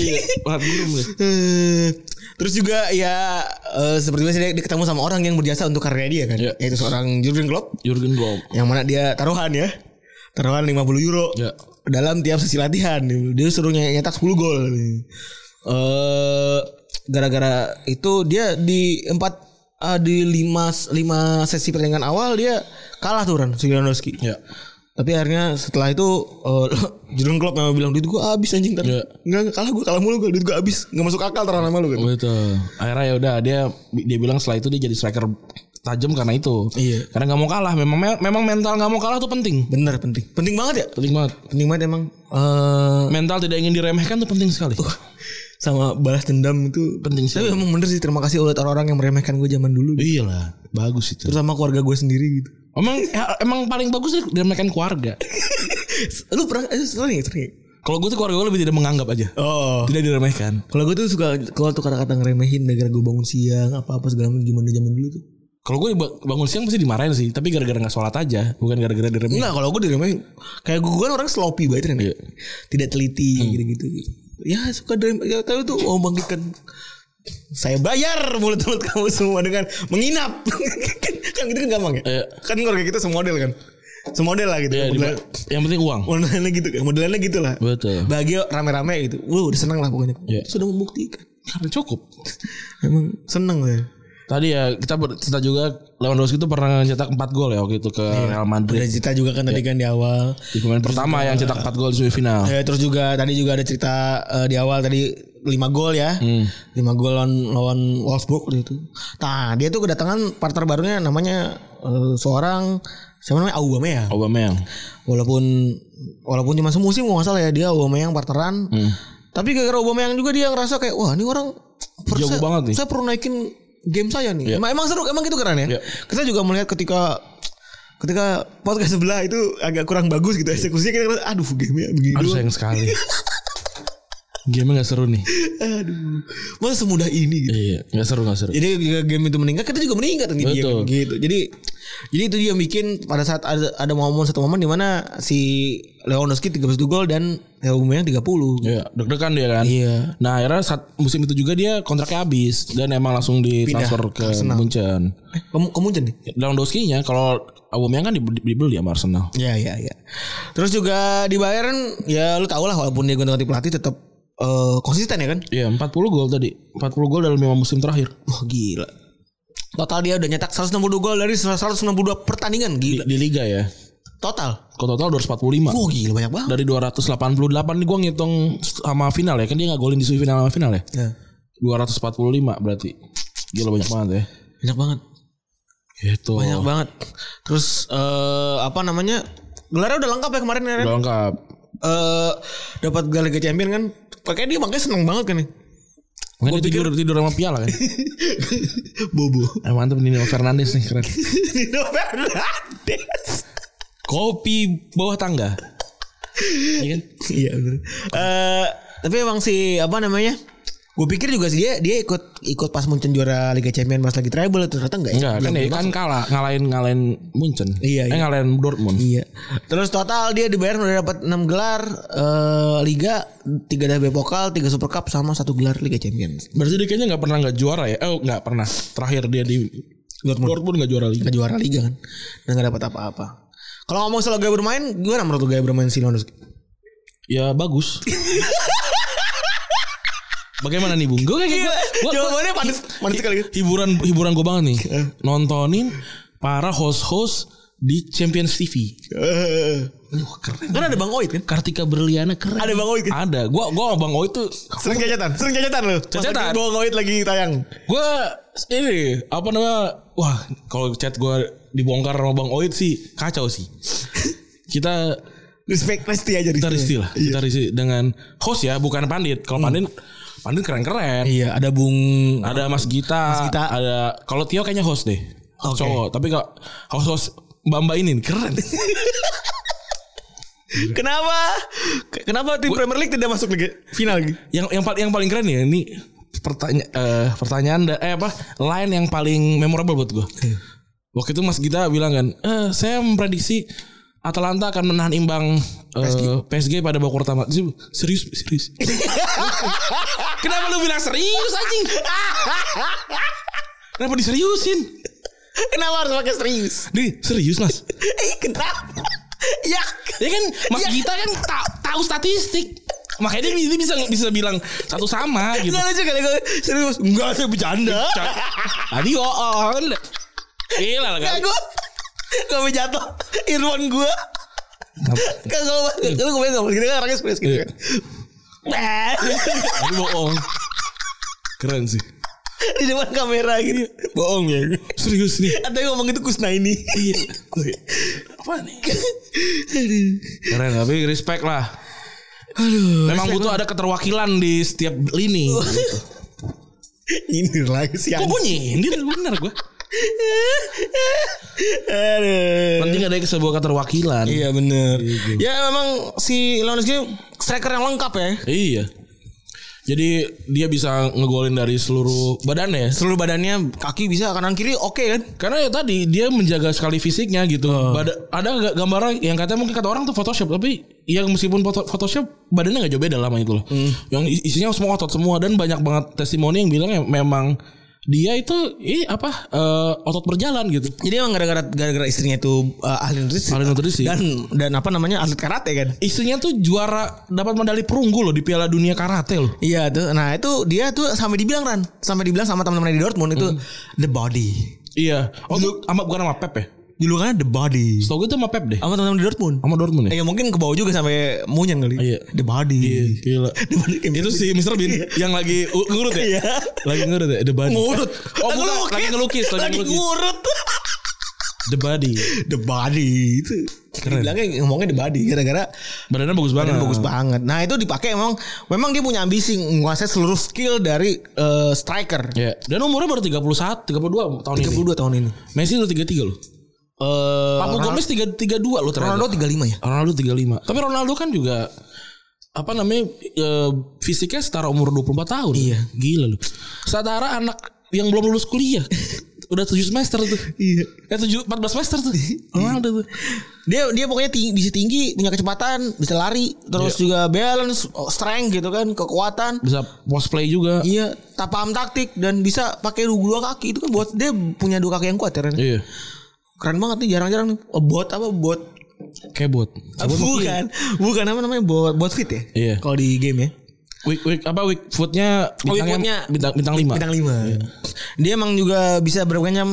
S2: Plat gurem ya.
S3: Eh, Terus juga ya eh, seperti biasa dia, dia ketemu sama orang yang berjasa untuk karirnya dia kan.
S2: Iya.
S3: Yaitu seorang Jurgen Klopp
S2: Jurgen Klopp
S3: yang mana dia taruhan ya. Taruhan 50 euro
S2: Iya.
S3: dalam tiap sesi latihan. Dia suruh ny- nyetak 10 gol. Eh gara-gara itu dia di empat ah, di lima lima sesi pertandingan awal dia kalah tuh Ran Sugiyarnoski.
S2: ya
S3: Tapi akhirnya setelah itu eh, Jurgen Klopp memang bilang duit gua habis anjing ntar.
S2: Iya.
S3: Enggak kalah gua kalah mulu gua duit gua habis. Enggak masuk akal taruhan sama lu
S2: Oh,
S3: gitu.
S2: Betul. Akhirnya ya udah dia dia bilang setelah itu dia jadi striker tajam karena itu.
S3: Iya.
S2: Karena nggak mau kalah. Memang me- memang mental nggak mau kalah tuh penting.
S3: Bener penting. Penting banget ya.
S2: Penting banget.
S3: Penting banget emang. Eh
S2: Mental tidak ingin diremehkan tuh penting sekali.
S3: sama balas dendam itu
S2: Penting
S3: Tapi
S2: sekali.
S3: emang bener sih terima kasih oleh orang-orang yang meremehkan gue zaman dulu. gitu.
S2: Iya lah, bagus itu.
S3: Terutama keluarga gue sendiri gitu.
S2: Emang ya, emang paling bagus sih diremehkan keluarga.
S3: Lu pernah eh, sering ya, sering. ya?
S2: Kalau gue tuh keluarga gue lebih tidak menganggap aja.
S3: Oh.
S2: Tidak diremehkan.
S3: Kalau gue tuh suka keluar tuh kata-kata ngeremehin gara-gara gue bangun siang apa-apa segala macam zaman zaman dulu tuh.
S2: Kalau gue ba- bangun siang pasti dimarahin sih, tapi gara-gara nggak sholat aja, bukan gara-gara diremehin.
S3: Enggak, kalau gue diremehin kayak gue kan orang sloppy banget Ren.
S2: Iya.
S3: Tidak teliti
S2: Hmm.
S3: gitu-gitu. Ya suka direm ya tahu tuh oh bangkikan saya bayar mulut-mulut kamu semua dengan menginap. kan gitu kan gampang ya?
S2: Iya.
S3: Kan keluarga kita semodel kan. Semodel lah gitu.
S2: Ya, di-
S3: kan. Model-
S2: yang penting uang.
S3: modelannya gitu kan. Modelannya gitu lah.
S2: Betul.
S3: Bahagia rame-rame gitu. Wah, udah seneng lah pokoknya.
S2: Iya.
S3: Sudah membuktikan.
S2: Karena cukup.
S3: Emang seneng lah.
S2: Tadi ya kita cerita juga Lewandowski itu pernah cetak 4 gol ya waktu itu ke Real
S3: Ada
S2: Madrid.
S3: cerita juga kan
S2: Iya.
S3: tadi kan di awal.
S2: Di pemain Iya. pertama yang cetak 4 gol di semifinal.
S3: Ya, terus juga tadi juga ada cerita eh, di awal tadi 5 gol ya.
S2: Hmm.
S3: 5 gol lawan, lawan Wolfsburg waktu itu. Nah, dia tuh kedatangan partner barunya namanya eh, seorang siapa namanya Aubameyang.
S2: Aubameyang.
S3: Walaupun walaupun cuma semusim nggak salah ya dia Aubameyang partneran.
S2: Hmm.
S3: Tapi gara-gara Aubameyang juga dia ngerasa kayak wah ini orang
S2: Jago
S3: saya-
S2: banget nih."
S3: Saya perlu naikin game saya nih. Emang, emang seru emang gitu keren ya.
S2: Iya.
S3: Kita juga melihat ketika ketika podcast sebelah itu agak kurang bagus gitu eksekusinya kita ngerasa, aduh gamenya begini
S2: Iya. Aduh
S3: doang."
S2: sayang sekali. Game gak seru nih.
S3: Aduh. Masa semudah ini gitu.
S2: Iya, gak seru gak seru.
S3: Jadi ketika game itu meningkat kita juga meningkat nih dia
S2: Betul.
S3: kan, gitu. Jadi jadi itu dia yang bikin pada saat ada ada momen satu momen di mana si Lewandowski 31 gol dan Aubameyang 30.
S2: Iya, deg-degan dia kan.
S3: Iya.
S2: Nah, akhirnya saat musim itu juga dia kontraknya habis dan emang langsung ditransfer ke Munchen.
S3: Eh, kamu kamu Jen deh.
S2: Lewandowski-nya kalau Aubameyang kan dibeli, dibeli sama Arsenal.
S3: Ya ya ya. Terus juga di Bayern ya lu tau lah walaupun dia ganti ganti pelatih tetap eh, konsisten ya kan.
S2: Iya, 40 gol tadi. 40 gol dalam 5 musim terakhir.
S3: Wah gila. Total dia udah nyetak 162 gol dari 162 pertandingan
S2: Di,
S3: gila.
S2: di liga ya.
S3: Total.
S2: Kalau total 245.
S3: Wah gila banyak banget.
S2: dari 288 nih gue ngitung sama final ya kan dia nggak golin di semifinal sama final ya
S3: Ya.
S2: 245 berarti gila banyak banget ya
S3: Banyak banget.
S2: gitu
S3: Banyak banget. Terus eh apa namanya? Gelarnya udah lengkap ya kemarin ya. Ren?
S2: udah lengkap
S3: Eh dapat gelar Liga Champion kan. Kayaknya dia makanya seneng banget kan nih.
S2: Mungkin dia tidur, tidur sama piala kan
S3: Bobo.
S2: Eh mantep nih Nino Fernandes nih keren
S3: Nino Fernandes.
S2: Kopi bawah tangga Iya kan
S3: Iya bener. Eh tapi emang si apa namanya? Gue pikir juga sih dia dia ikut ikut pas Munchen juara Liga Champions pas lagi treble ternyata enggak. ya?
S2: Enggak, kan dia kan kalah ngalahin ngalahin Munchen. Eh,
S3: Iya, iya.
S2: ngalahin Dortmund.
S3: Iya. Terus total dia di Bayern udah dapat 6 gelar eh, liga, 3 DFB Pokal, 3 Super Cup sama 1 gelar Liga Champions.
S2: Berarti dia kayaknya nggak pernah nggak juara ya? Eh nggak pernah. Terakhir dia di Dortmund, nggak juara lagi.
S3: Gak juara liga kan. Dan gak dapat apa-apa. Kalau ngomong soal gaya bermain, gimana menurut lu gaya bermain si Lewandowski?
S2: Ya bagus. Bagaimana nih Bung? Gue kayak gitu. gue
S3: Jawabannya panas panas sekali. Eh.
S2: hiburan hiburan gue banget nih. Nontonin para host-host di Champions TV.
S3: Eh,
S2: Wah, keren.
S3: Kan ada Bang Oit kan?
S2: Kartika Berliana keren.
S3: Ada Bang Oit kan?
S2: Ada. Gua gua sama Bang Oi tuh
S3: Sering cacatan, sering cacatan lu. Pas
S2: Cacatan.
S3: lagi Bang Oit lagi tayang.
S2: gua ini apa namanya? Wah, kalau chat gua dibongkar sama Bang Oit sih kacau sih. kita
S3: Respect resti aja Iya.
S2: kita risti
S3: Risti.
S2: lah, kita risti dengan host ya, bukan pandit. Kalau
S3: Hmm.
S2: pandit pandit keren-keren.
S3: Iya, ada Bung
S2: Ada Mas Gita,
S3: Gita.
S2: ada kalau Tio kayaknya host deh.
S3: Oke.
S2: Cowok, tapi kalau host host Bamba ini keren.
S3: Kenapa? Kenapa tim Premier League tidak masuk lagi final lagi?
S2: yang yang paling yang paling keren ya ini pertanya eh, pertanyaan da- eh apa line yang paling memorable buat gue waktu itu Mas Gita bilang kan eh, saya memprediksi Atalanta akan menahan imbang eh, PSG. pada babak pertama Terus dia, serius serius kenapa lu
S3: Nah,
S2: bilang serius anjing kenapa diseriusin
S3: Kenapa harus pakai serius?
S2: Di serius mas
S3: Eh, kenapa? ya.
S2: Ya kan Mas
S3: Iya.
S2: Gita kan ta- tahu statistik makanya dia dia bisa bisa bilang satu sama gitu
S3: Enggak lucu kali gue serius. Enggak, saya bercanda.
S2: Tadi on. Ah, Gila lah kan.
S3: Enggak gue. Gue mau jatuh. Irwan gue. Kan kalau kalau gue enggak gitu kan orangnya serius gitu kan. Eh,
S2: Tapi bohong. Keren sih.
S3: Di depan kamera gitu.
S2: Bohong ya. Serius nih.
S3: Atau yang ngomong itu Kusna ini.
S2: Apa nih? Keren tapi respect lah. Memang butuh ada keterwakilan di setiap lini.
S3: Nyindir lagi sih.
S2: Kok gue nyindir Iya. bener gue.
S3: Aduh.
S2: Penting ada sebuah keterwakilan. gitu.
S3: Iya bener. Ya memang si Lewandowski striker yang lengkap ya.
S2: Iya. Jadi dia bisa ngegolin dari seluruh badannya. ya?
S3: Seluruh badannya kaki bisa kanan kiri oke kan?
S2: Karena ya tadi dia menjaga sekali fisiknya gitu. Bada- ada nggak gambaran yang katanya mungkin kata orang tuh Photoshop tapi yang meskipun foto- Photoshop badannya nggak jauh beda lama itu loh. Yang is- isinya semua otot semua dan banyak banget testimoni yang bilang ya memang dia itu eh, apa eh, otot berjalan gitu.
S3: Jadi emang gara-gara gara-gara istrinya itu uh, ahli nutrisi.
S2: Ahli nutrisi.
S3: Dan dan apa namanya atlet karate kan?
S2: Istrinya tuh juara dapat medali perunggu loh di Piala Dunia Karate loh.
S3: Iya tuh. Nah itu dia tuh sampai dibilang Ran, sampai dibilang sama teman-temannya di
S2: Hmm.
S3: Dortmund itu the body.
S2: Iya. Oh, tuh ama bukan sama Pep ya.
S3: Julukannya the body.
S2: Setahu gue itu sama Pep deh.
S3: Sama teman-teman di Dortmund.
S2: Sama Dortmund ya.
S3: Eh, ya mungkin ke bawah juga sampai munyen kali.
S2: Iya.
S3: The body.
S2: Iya, gila. Iya.
S3: The body kayak gitu.
S2: itu si Mr. Bean yang lagi u- ngurut ya?
S3: Iya.
S2: Lagi ngurut ya? The Body.
S3: ngurut.
S2: Oh, bukan. Lagi ngelukis, lagi
S3: Lagi
S2: ngelukis.
S3: ngurut.
S2: The Body.
S3: the body itu.
S2: Keren.
S3: Bilangnya ngomongnya the body gara-gara
S2: Badannya bagus banget.
S3: Badannya bagus banget. Nah itu dipakai emang, memang dia punya ambisi menguasai seluruh skill dari eh, striker.
S2: Ya. Dan umurnya baru 31, 32 tahun ini.
S3: 32 tahun ini.
S2: Messi udah 33 loh.
S3: Eh,
S2: Papu Gomez 3 32 loh ternyata.
S3: Ronaldo 35 ya.
S2: Ronaldo 35. Tapi Ronaldo kan juga apa namanya e, fisiknya setara umur 24 tahun.
S3: Iya.
S2: Gila loh. Setara anak yang belum lulus kuliah. udah 7 semester tuh.
S3: Iya.
S2: Eh 7 14 semester tuh. Ronaldo tuh.
S3: Dia dia pokoknya tinggi, bisa tinggi, punya kecepatan, bisa lari,
S2: Iya.
S3: terus juga balance, strength gitu kan, kekuatan.
S2: Bisa post play juga.
S3: Iya, tak paham taktik dan bisa pakai dua kaki itu kan buat dia punya dua kaki yang kuat ya. Ren.
S2: Iya.
S3: Keren banget nih jarang-jarang nih. Eh, Bot apa bot?
S2: Kebot.
S3: bukan, bukan apa namanya bot bot fit ya?
S2: Iya.
S3: Kalau di game ya.
S2: Week week apa week foodnya
S3: Oh,
S2: bintangnya
S3: Wickwoodnya-
S2: bintang bintang Iya. 5.
S3: Bintang lima. Dia emang juga bisa berbanyak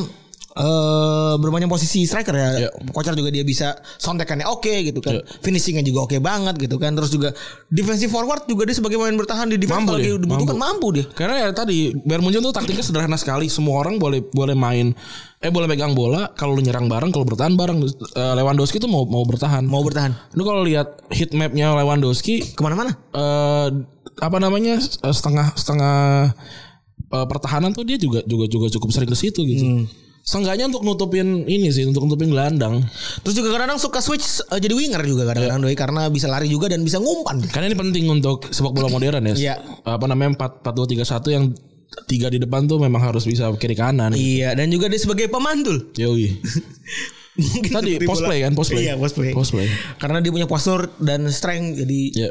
S3: eh berbanyak posisi striker ya.
S2: Iya.
S3: Kocar juga dia bisa sontekannya oke gitu
S2: Iya.
S3: kan. Finishingnya juga oke banget gitu kan. Terus juga defensive forward juga dia sebagai pemain bertahan di defense
S2: Mampu
S3: kalau
S2: dia,
S3: dia dibutuhkan mampu. dia.
S2: Karena ya tadi Bayern Munchen tuh taktiknya sederhana sekali. Semua orang boleh boleh main eh boleh pegang bola kalau lu nyerang bareng, kalau bertahan bareng. Eh, Lewandowski tuh mau mau bertahan.
S3: Mau bertahan
S2: Lu kalau lihat heat mapnya Lewandowski
S3: kemana-mana.
S2: eh apa namanya eh,
S3: Hmm.
S2: setengah setengah eh, pertahanan tuh dia juga juga juga cukup sering ke situ gitu. Seenggaknya untuk nutupin ini sih, untuk nutupin gelandang.
S3: Terus juga kadang-kadang suka switch eh, jadi winger juga
S2: Iya.
S3: kadang-kadang doi karena bisa lari juga dan bisa ngumpan.
S2: Karena ini penting untuk sepak bola modern ya.
S3: Iya.
S2: Apa namanya 4 4 2 3 1 yang tiga di depan tuh memang harus bisa kiri kanan.
S3: Iya, dan juga dia sebagai pemantul.
S2: Yoi.
S3: Mungkin
S2: Tadi
S3: seperti
S2: post
S3: Gitu bola.
S2: play kan, post play.
S3: Iya, post play.
S2: Post play.
S3: Karena dia punya postur dan strength jadi
S2: Iya.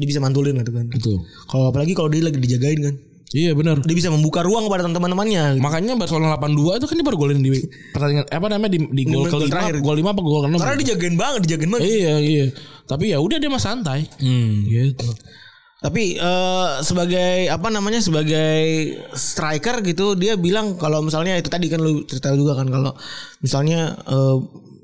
S3: dia bisa mantulin gitu kan.
S2: Betul.
S3: Kalau apalagi kalau dia lagi dijagain kan.
S2: Iya benar.
S3: Dia bisa membuka ruang kepada teman-temannya. gitu.
S2: Makanya Barcelona 82 itu kan dia baru golin di pertandingan apa namanya di, di gol
S3: menit
S2: kelima,
S3: terakhir.
S2: gol 5 apa gol ke-6.
S3: Karena dijagain banget, dijagain banget.
S2: Iya, iya. Tapi ya udah dia mah santai.
S3: Iya,
S2: Gitu.
S3: Tapi eh, sebagai apa namanya sebagai striker gitu dia bilang kalau misalnya itu tadi kan lu cerita juga kan kalau misalnya eh,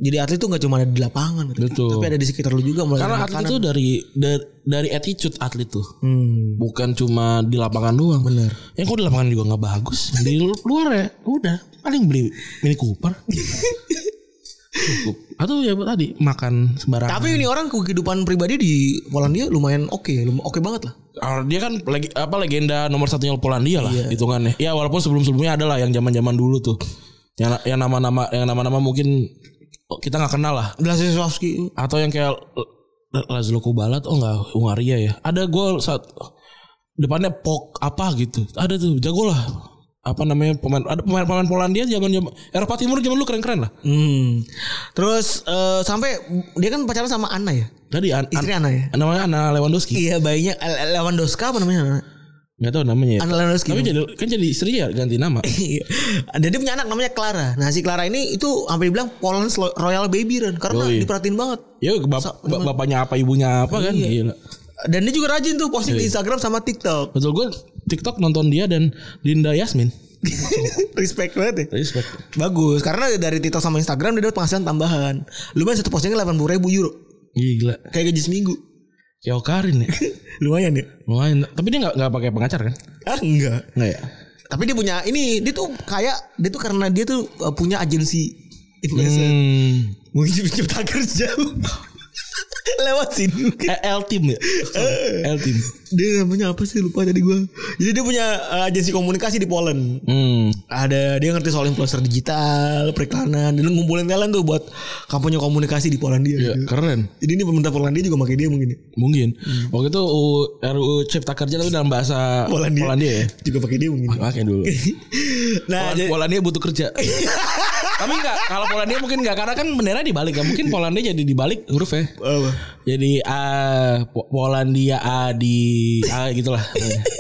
S3: jadi atlet tuh nggak cuma ada di lapangan gitu.
S2: Betul.
S3: Tapi ada di sekitar lu juga mulai
S2: Karena
S3: dari
S2: atlet
S3: makanan.
S2: itu dari, dari dari attitude atlet tuh.
S3: Hmm.
S2: Bukan cuma di lapangan doang. Bener. Ya kok di lapangan juga nggak bagus. Di lu- luar ya udah paling beli mini Cooper. Cukup. Atau ya tadi makan sembarangan.
S3: Tapi ini orang kehidupan pribadi di Polandia lumayan oke, lum- oke banget lah.
S2: Ah, dia kan lagi apa legenda nomor satunya Polandia lah hitungannya. Ya walaupun sebelum-sebelumnya ada lah yang zaman-zaman dulu tuh. Yang yang nama-nama yang nama-nama mungkin kita nggak kenal lah.
S3: Blasewski
S2: Atau yang kayak L- Lazlo Kubalat oh nggak Hungaria ya. Ada gol saat depannya pok apa gitu. Ada tuh jago lah. Apa namanya pemain ada pemain-pemain Polandia zaman zaman Eropa Timur zaman dulu keren-keren lah.
S3: Hmm. Terus eh, sampai dia kan pacaran sama Anna ya?
S2: Tadi an, an-
S3: Istri Anna ya?
S2: namanya Anna Lewandowski.
S3: Iya, bayinya L- Lewandowska apa namanya?
S2: Nggak tahu namanya. Ya.
S3: Anna Lewandowski.
S2: Iya. Tapi jadi kan jadi istri ya ganti nama.
S3: Iya. Dan dia punya anak namanya Clara. Nah si Clara ini itu sampai dibilang Poland's lo- Royal Baby Ren. Karena
S2: Yoi.
S3: diperhatiin banget.
S2: Ya bap- bap- bapaknya apa ibunya apa kan Gila.
S3: Iya. Dan dia juga rajin tuh posting di Instagram sama TikTok.
S2: Betul gue TikTok nonton dia dan Dinda Yasmin.
S3: Respect banget ya.
S2: Respect.
S3: Bagus. Karena dari TikTok sama Instagram dia dapat penghasilan tambahan. Lumayan satu postingnya 80 ribu euro.
S2: Gila.
S3: Kayak gaji seminggu.
S2: Kayak Karin ya.
S3: Lumayan ya.
S2: Lumayan. Tapi dia nggak nggak pakai pengacar kan?
S3: Ah enggak.
S2: Nggak ya.
S3: Tapi dia punya ini. Dia tuh kayak. Dia tuh karena dia tuh uh, punya agensi. Influencer.
S2: Hmm.
S3: Mungkin cipta kerja. Lewat sini.
S2: Eh, L team ya. Sorry, L team.
S3: dia namanya apa sih lupa tadi gua jadi dia punya eh, agensi komunikasi di Poland
S2: Hmm.
S3: ada dia ngerti soal influencer digital periklanan dia ngumpulin talent tuh buat kampanye komunikasi di Polandia
S2: Ya,
S3: gitu.
S2: keren.
S3: jadi ini pemerintah Polandia juga pakai dia mungkin ya.
S2: Mungkin. Waktu itu U- RUU Cipta Kerja tapi dalam bahasa
S3: Polandia,
S2: Polandia ya.
S3: juga pakai dia mungkin
S2: Pakai dulu. Polan-
S3: nah jadi,
S2: Polandia butuh kerja. Tapi enggak, kalau Polandia mungkin enggak karena kan bendera dibalik ya. Mungkin Polandia jadi dibalik huruf ya.
S3: apa?
S2: Jadi A Po- Polandia A di A gitulah.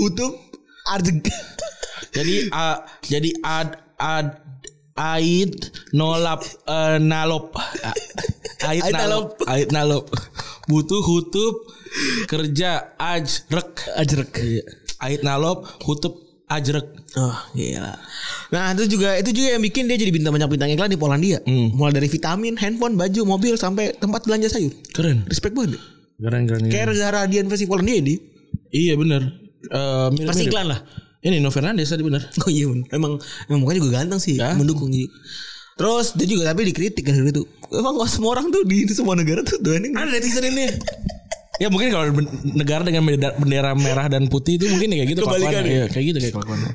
S3: Hutum Arjeg
S2: jadi A jadi ad ad Ait nolap eh, nalop A- Ait
S3: Ait
S2: nalop Ait nalop butuh hutup kerja ajrek
S3: Arjeg
S2: Ait nalop hutup ajrek
S3: Oh gila Nah itu juga Itu juga yang bikin dia jadi bintang banyak bintang iklan di Polandia
S2: Hmm.
S3: Mulai dari vitamin Handphone Baju Mobil Sampai tempat belanja sayur
S2: keren
S3: Respect banget
S2: keren keren, keren.
S3: Kayak negara Dian versi Polandia ini
S2: iya bener Eh, mirip-
S3: Versi
S2: mirip.
S3: iklan lah
S2: ini Nino Fernandes tadi bener
S3: Oh iya bener. Emang emang mukanya juga ganteng sih
S2: Ya.
S3: mendukung gitu. Terus dia juga tapi dikritik kan itu. Emang nggak semua orang tuh di semua negara tuh doain
S2: Ada netizen ini. Ya mungkin kalau ben- negara dengan bendera, bendera merah dan putih itu mungkin ya kayak gitu
S3: Kebalikan
S2: kelakuannya. Iya, kayak gitu kayak kelakuannya.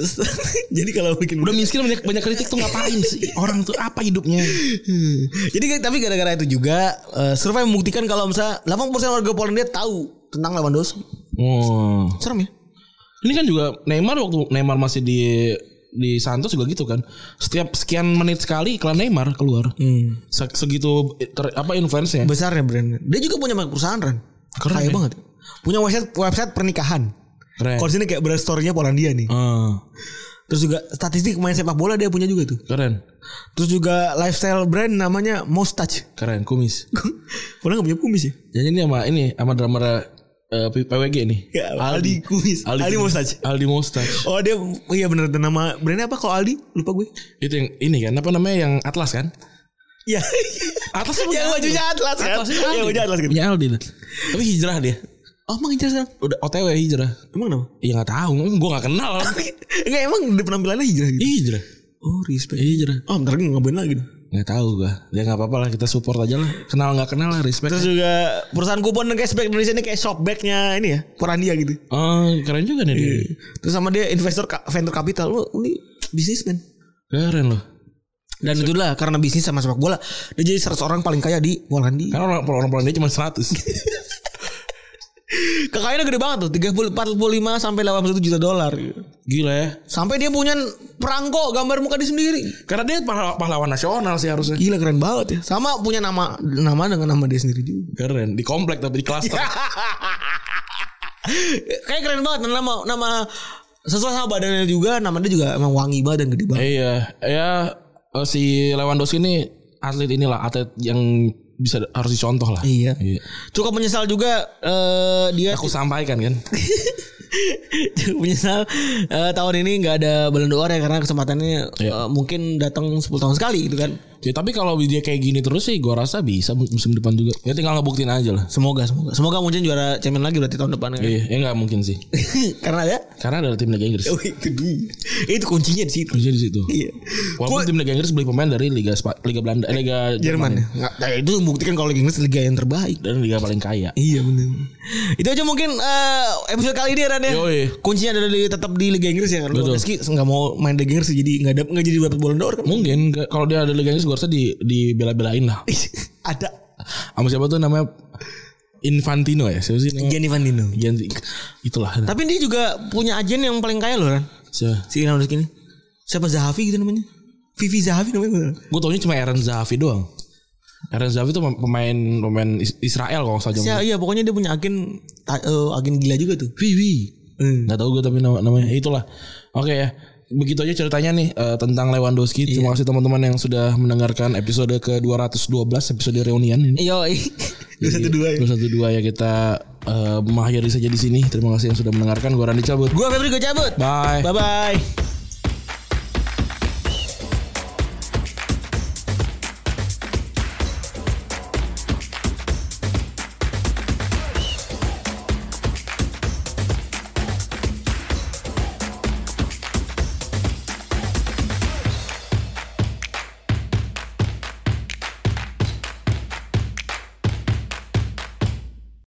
S3: Jadi kalau bikin
S2: Udah miskin banyak banyak kritik tuh ngapain sih orang tuh apa hidupnya?
S3: Hmm. Jadi kayak- tapi gara-gara itu juga eh, survei membuktikan kalau misalnya 80% warga Polandia tahu tentang Lewandowski.
S2: Oh.
S3: Serem ya?
S2: Ini kan juga Neymar waktu Neymar masih di di Santos juga gitu kan. Setiap sekian menit sekali iklan Neymar keluar. Se- Segitu ter- apa influence-nya.
S3: Hmm. Besar ya brand. Dia juga punya banyak perusahaan Ren.
S2: Keren
S3: Kaya
S2: ya. Eh.
S3: banget. Punya website website pernikahan.
S2: Keren.
S3: Kalau di sini kayak brand story-nya Polandia nih.
S2: Ah,
S3: Terus juga statistik main sepak bola dia punya juga tuh.
S2: keren.
S3: Terus juga lifestyle brand namanya Moustache.
S2: Keren kumis.
S3: Pola gak punya kumis ya?
S2: Jadi ini sama ini sama drama eh, PWG nih.
S3: Ya, Aldi kumis. Aldi
S2: kumis.
S3: Moustache.
S2: Aldi Moustache.
S3: Oh dia iya bener nama brandnya apa kalau Aldi lupa gue.
S2: Itu yang ini kan apa namanya yang Atlas kan?
S3: Ya.
S2: Atlas tuh
S3: Yang
S2: Aldi.
S3: bajunya Atlas kan?
S2: Atlas itu
S3: Yang
S2: Aldi.
S3: bajunya Atlas gitu.
S2: Punya Aldi. dah. Tapi hijrah dia.
S3: Oh emang hijrah sekarang?
S2: Udah OTW hijrah.
S3: Emang nama?
S2: Ya nggak tahu, gua nggak kenal.
S3: Enggak Iya, emang di penampilannya hijrah gitu.
S2: hijrah.
S3: Oh respect.
S2: Hijrah.
S3: Oh bentar lagi ngapain lagi nih.
S2: Gitu. Nggak tahu gua. Ya nggak apa-apa lah kita support aja lah. Kenal nggak kenal lah respect.
S3: Terus juga perusahaan kupon dan cashback Indonesia ini kayak shopbacknya ini ya Polandia gitu.
S2: Oh, keren juga nih dia.
S3: Iya. Terus sama dia investor ka- venture capital. Wah ini bisnismen.
S2: Keren loh.
S3: Dan itulah karena bisnis sama sepak bola dia jadi 100 orang paling kaya di Walandi.
S2: Karena orang orang Polandia cuma 100.
S3: Kekayaannya gede banget tuh 30 45 sampai 81 juta dolar. gitu.
S2: Gila ya.
S3: Sampai dia punya perangko gambar muka dia sendiri.
S2: Karena dia pahlawan, pahlawan nasional sih harusnya.
S3: Gila keren banget ya. Sama punya nama nama dengan nama dia sendiri juga.
S2: Keren. Di komplek tapi di klaster.
S3: Kayak keren banget dan nama nama sesuai sama badannya juga nama dia juga emang wangi banget dan gede banget.
S2: iya. Ya eh, si Lewandowski ini atlet inilah atlet yang bisa harus dicontoh lah.
S3: Iya. Cukup menyesal juga eh, dia
S2: Aku sampaikan kan.
S3: Cukup menyesal eh, tahun ini nggak ada Ballon d'Or ya karena kesempatannya
S2: Iya.
S3: eh, mungkin datang 10 tahun sekali gitu kan.
S2: Ya, tapi kalau dia kayak gini terus sih gua rasa bisa musim depan juga. Ya tinggal ngebuktiin aja lah.
S3: Semoga semoga semoga mungkin juara champion lagi berarti tahun depan ya.
S2: Iya, ya nggak mungkin sih.
S3: karena ada
S2: Karena ada tim Liga Inggris.
S3: Oh, itu dia. Itu kuncinya di situ.
S2: Kerja di situ.
S3: Iya.
S2: Walaupun tim Liga Inggris beli pemain dari Liga Spa- Liga Belanda, eh, Liga
S3: Jerman
S2: Jerman
S3: ya. Nggak, nah, itu membuktikan kalau Liga Inggris liga yang terbaik.
S2: dan Liga paling kaya.
S3: Iya benar. Itu aja mungkin eh, episode kali ini ya. Raden.
S2: Yoi.
S3: Kuncinya ada di tetap di Liga Inggris ya. Kalau
S2: Betul.
S3: Rizky nggak mau main Liga Inggris jadi nggak ada nggak jadi dapat Ballon d'Or kan?
S2: Mungkin ke- kalau dia ada Liga Inggris gua rasa di dibela-belain lah.
S3: Iya. ada.
S2: Sama siapa tuh namanya Infantino ya? Siapa sih namanya?
S3: Gianni Van Dino.
S2: Gianti. Itulah.
S3: Tapi dia juga punya agen yang paling kaya loh Ran.
S2: Siapa?
S3: Si Ilham Rizky ini. Siapa Zahavi gitu namanya? Vivi Zahavi namanya.
S2: Gue taunya cuma Aaron Zahavi doang. Aaron Zahavi tuh pemain pemain Is- Israel kalau nggak salah.
S3: Ya, iya pokoknya dia punya agen ta- eh, agen gila juga tuh.
S2: Vivi.
S3: Hmm.
S2: Nggak tahu gue tapi nama namanya itulah. Oke ya. Begitu aja ceritanya nih eh, tentang Lewandowski. Terima
S3: Iya.
S2: kasih teman-teman yang sudah mendengarkan episode ke-212 episode reunian ini.
S3: Yo, satu Iya.
S2: 212
S3: dua ya.
S2: ya kita eh mengakhiri saja di sini. Terima kasih yang sudah mendengarkan. Gue Randi cabut.
S3: Gua Febri gue cabut.
S2: Bye.
S3: Bye bye.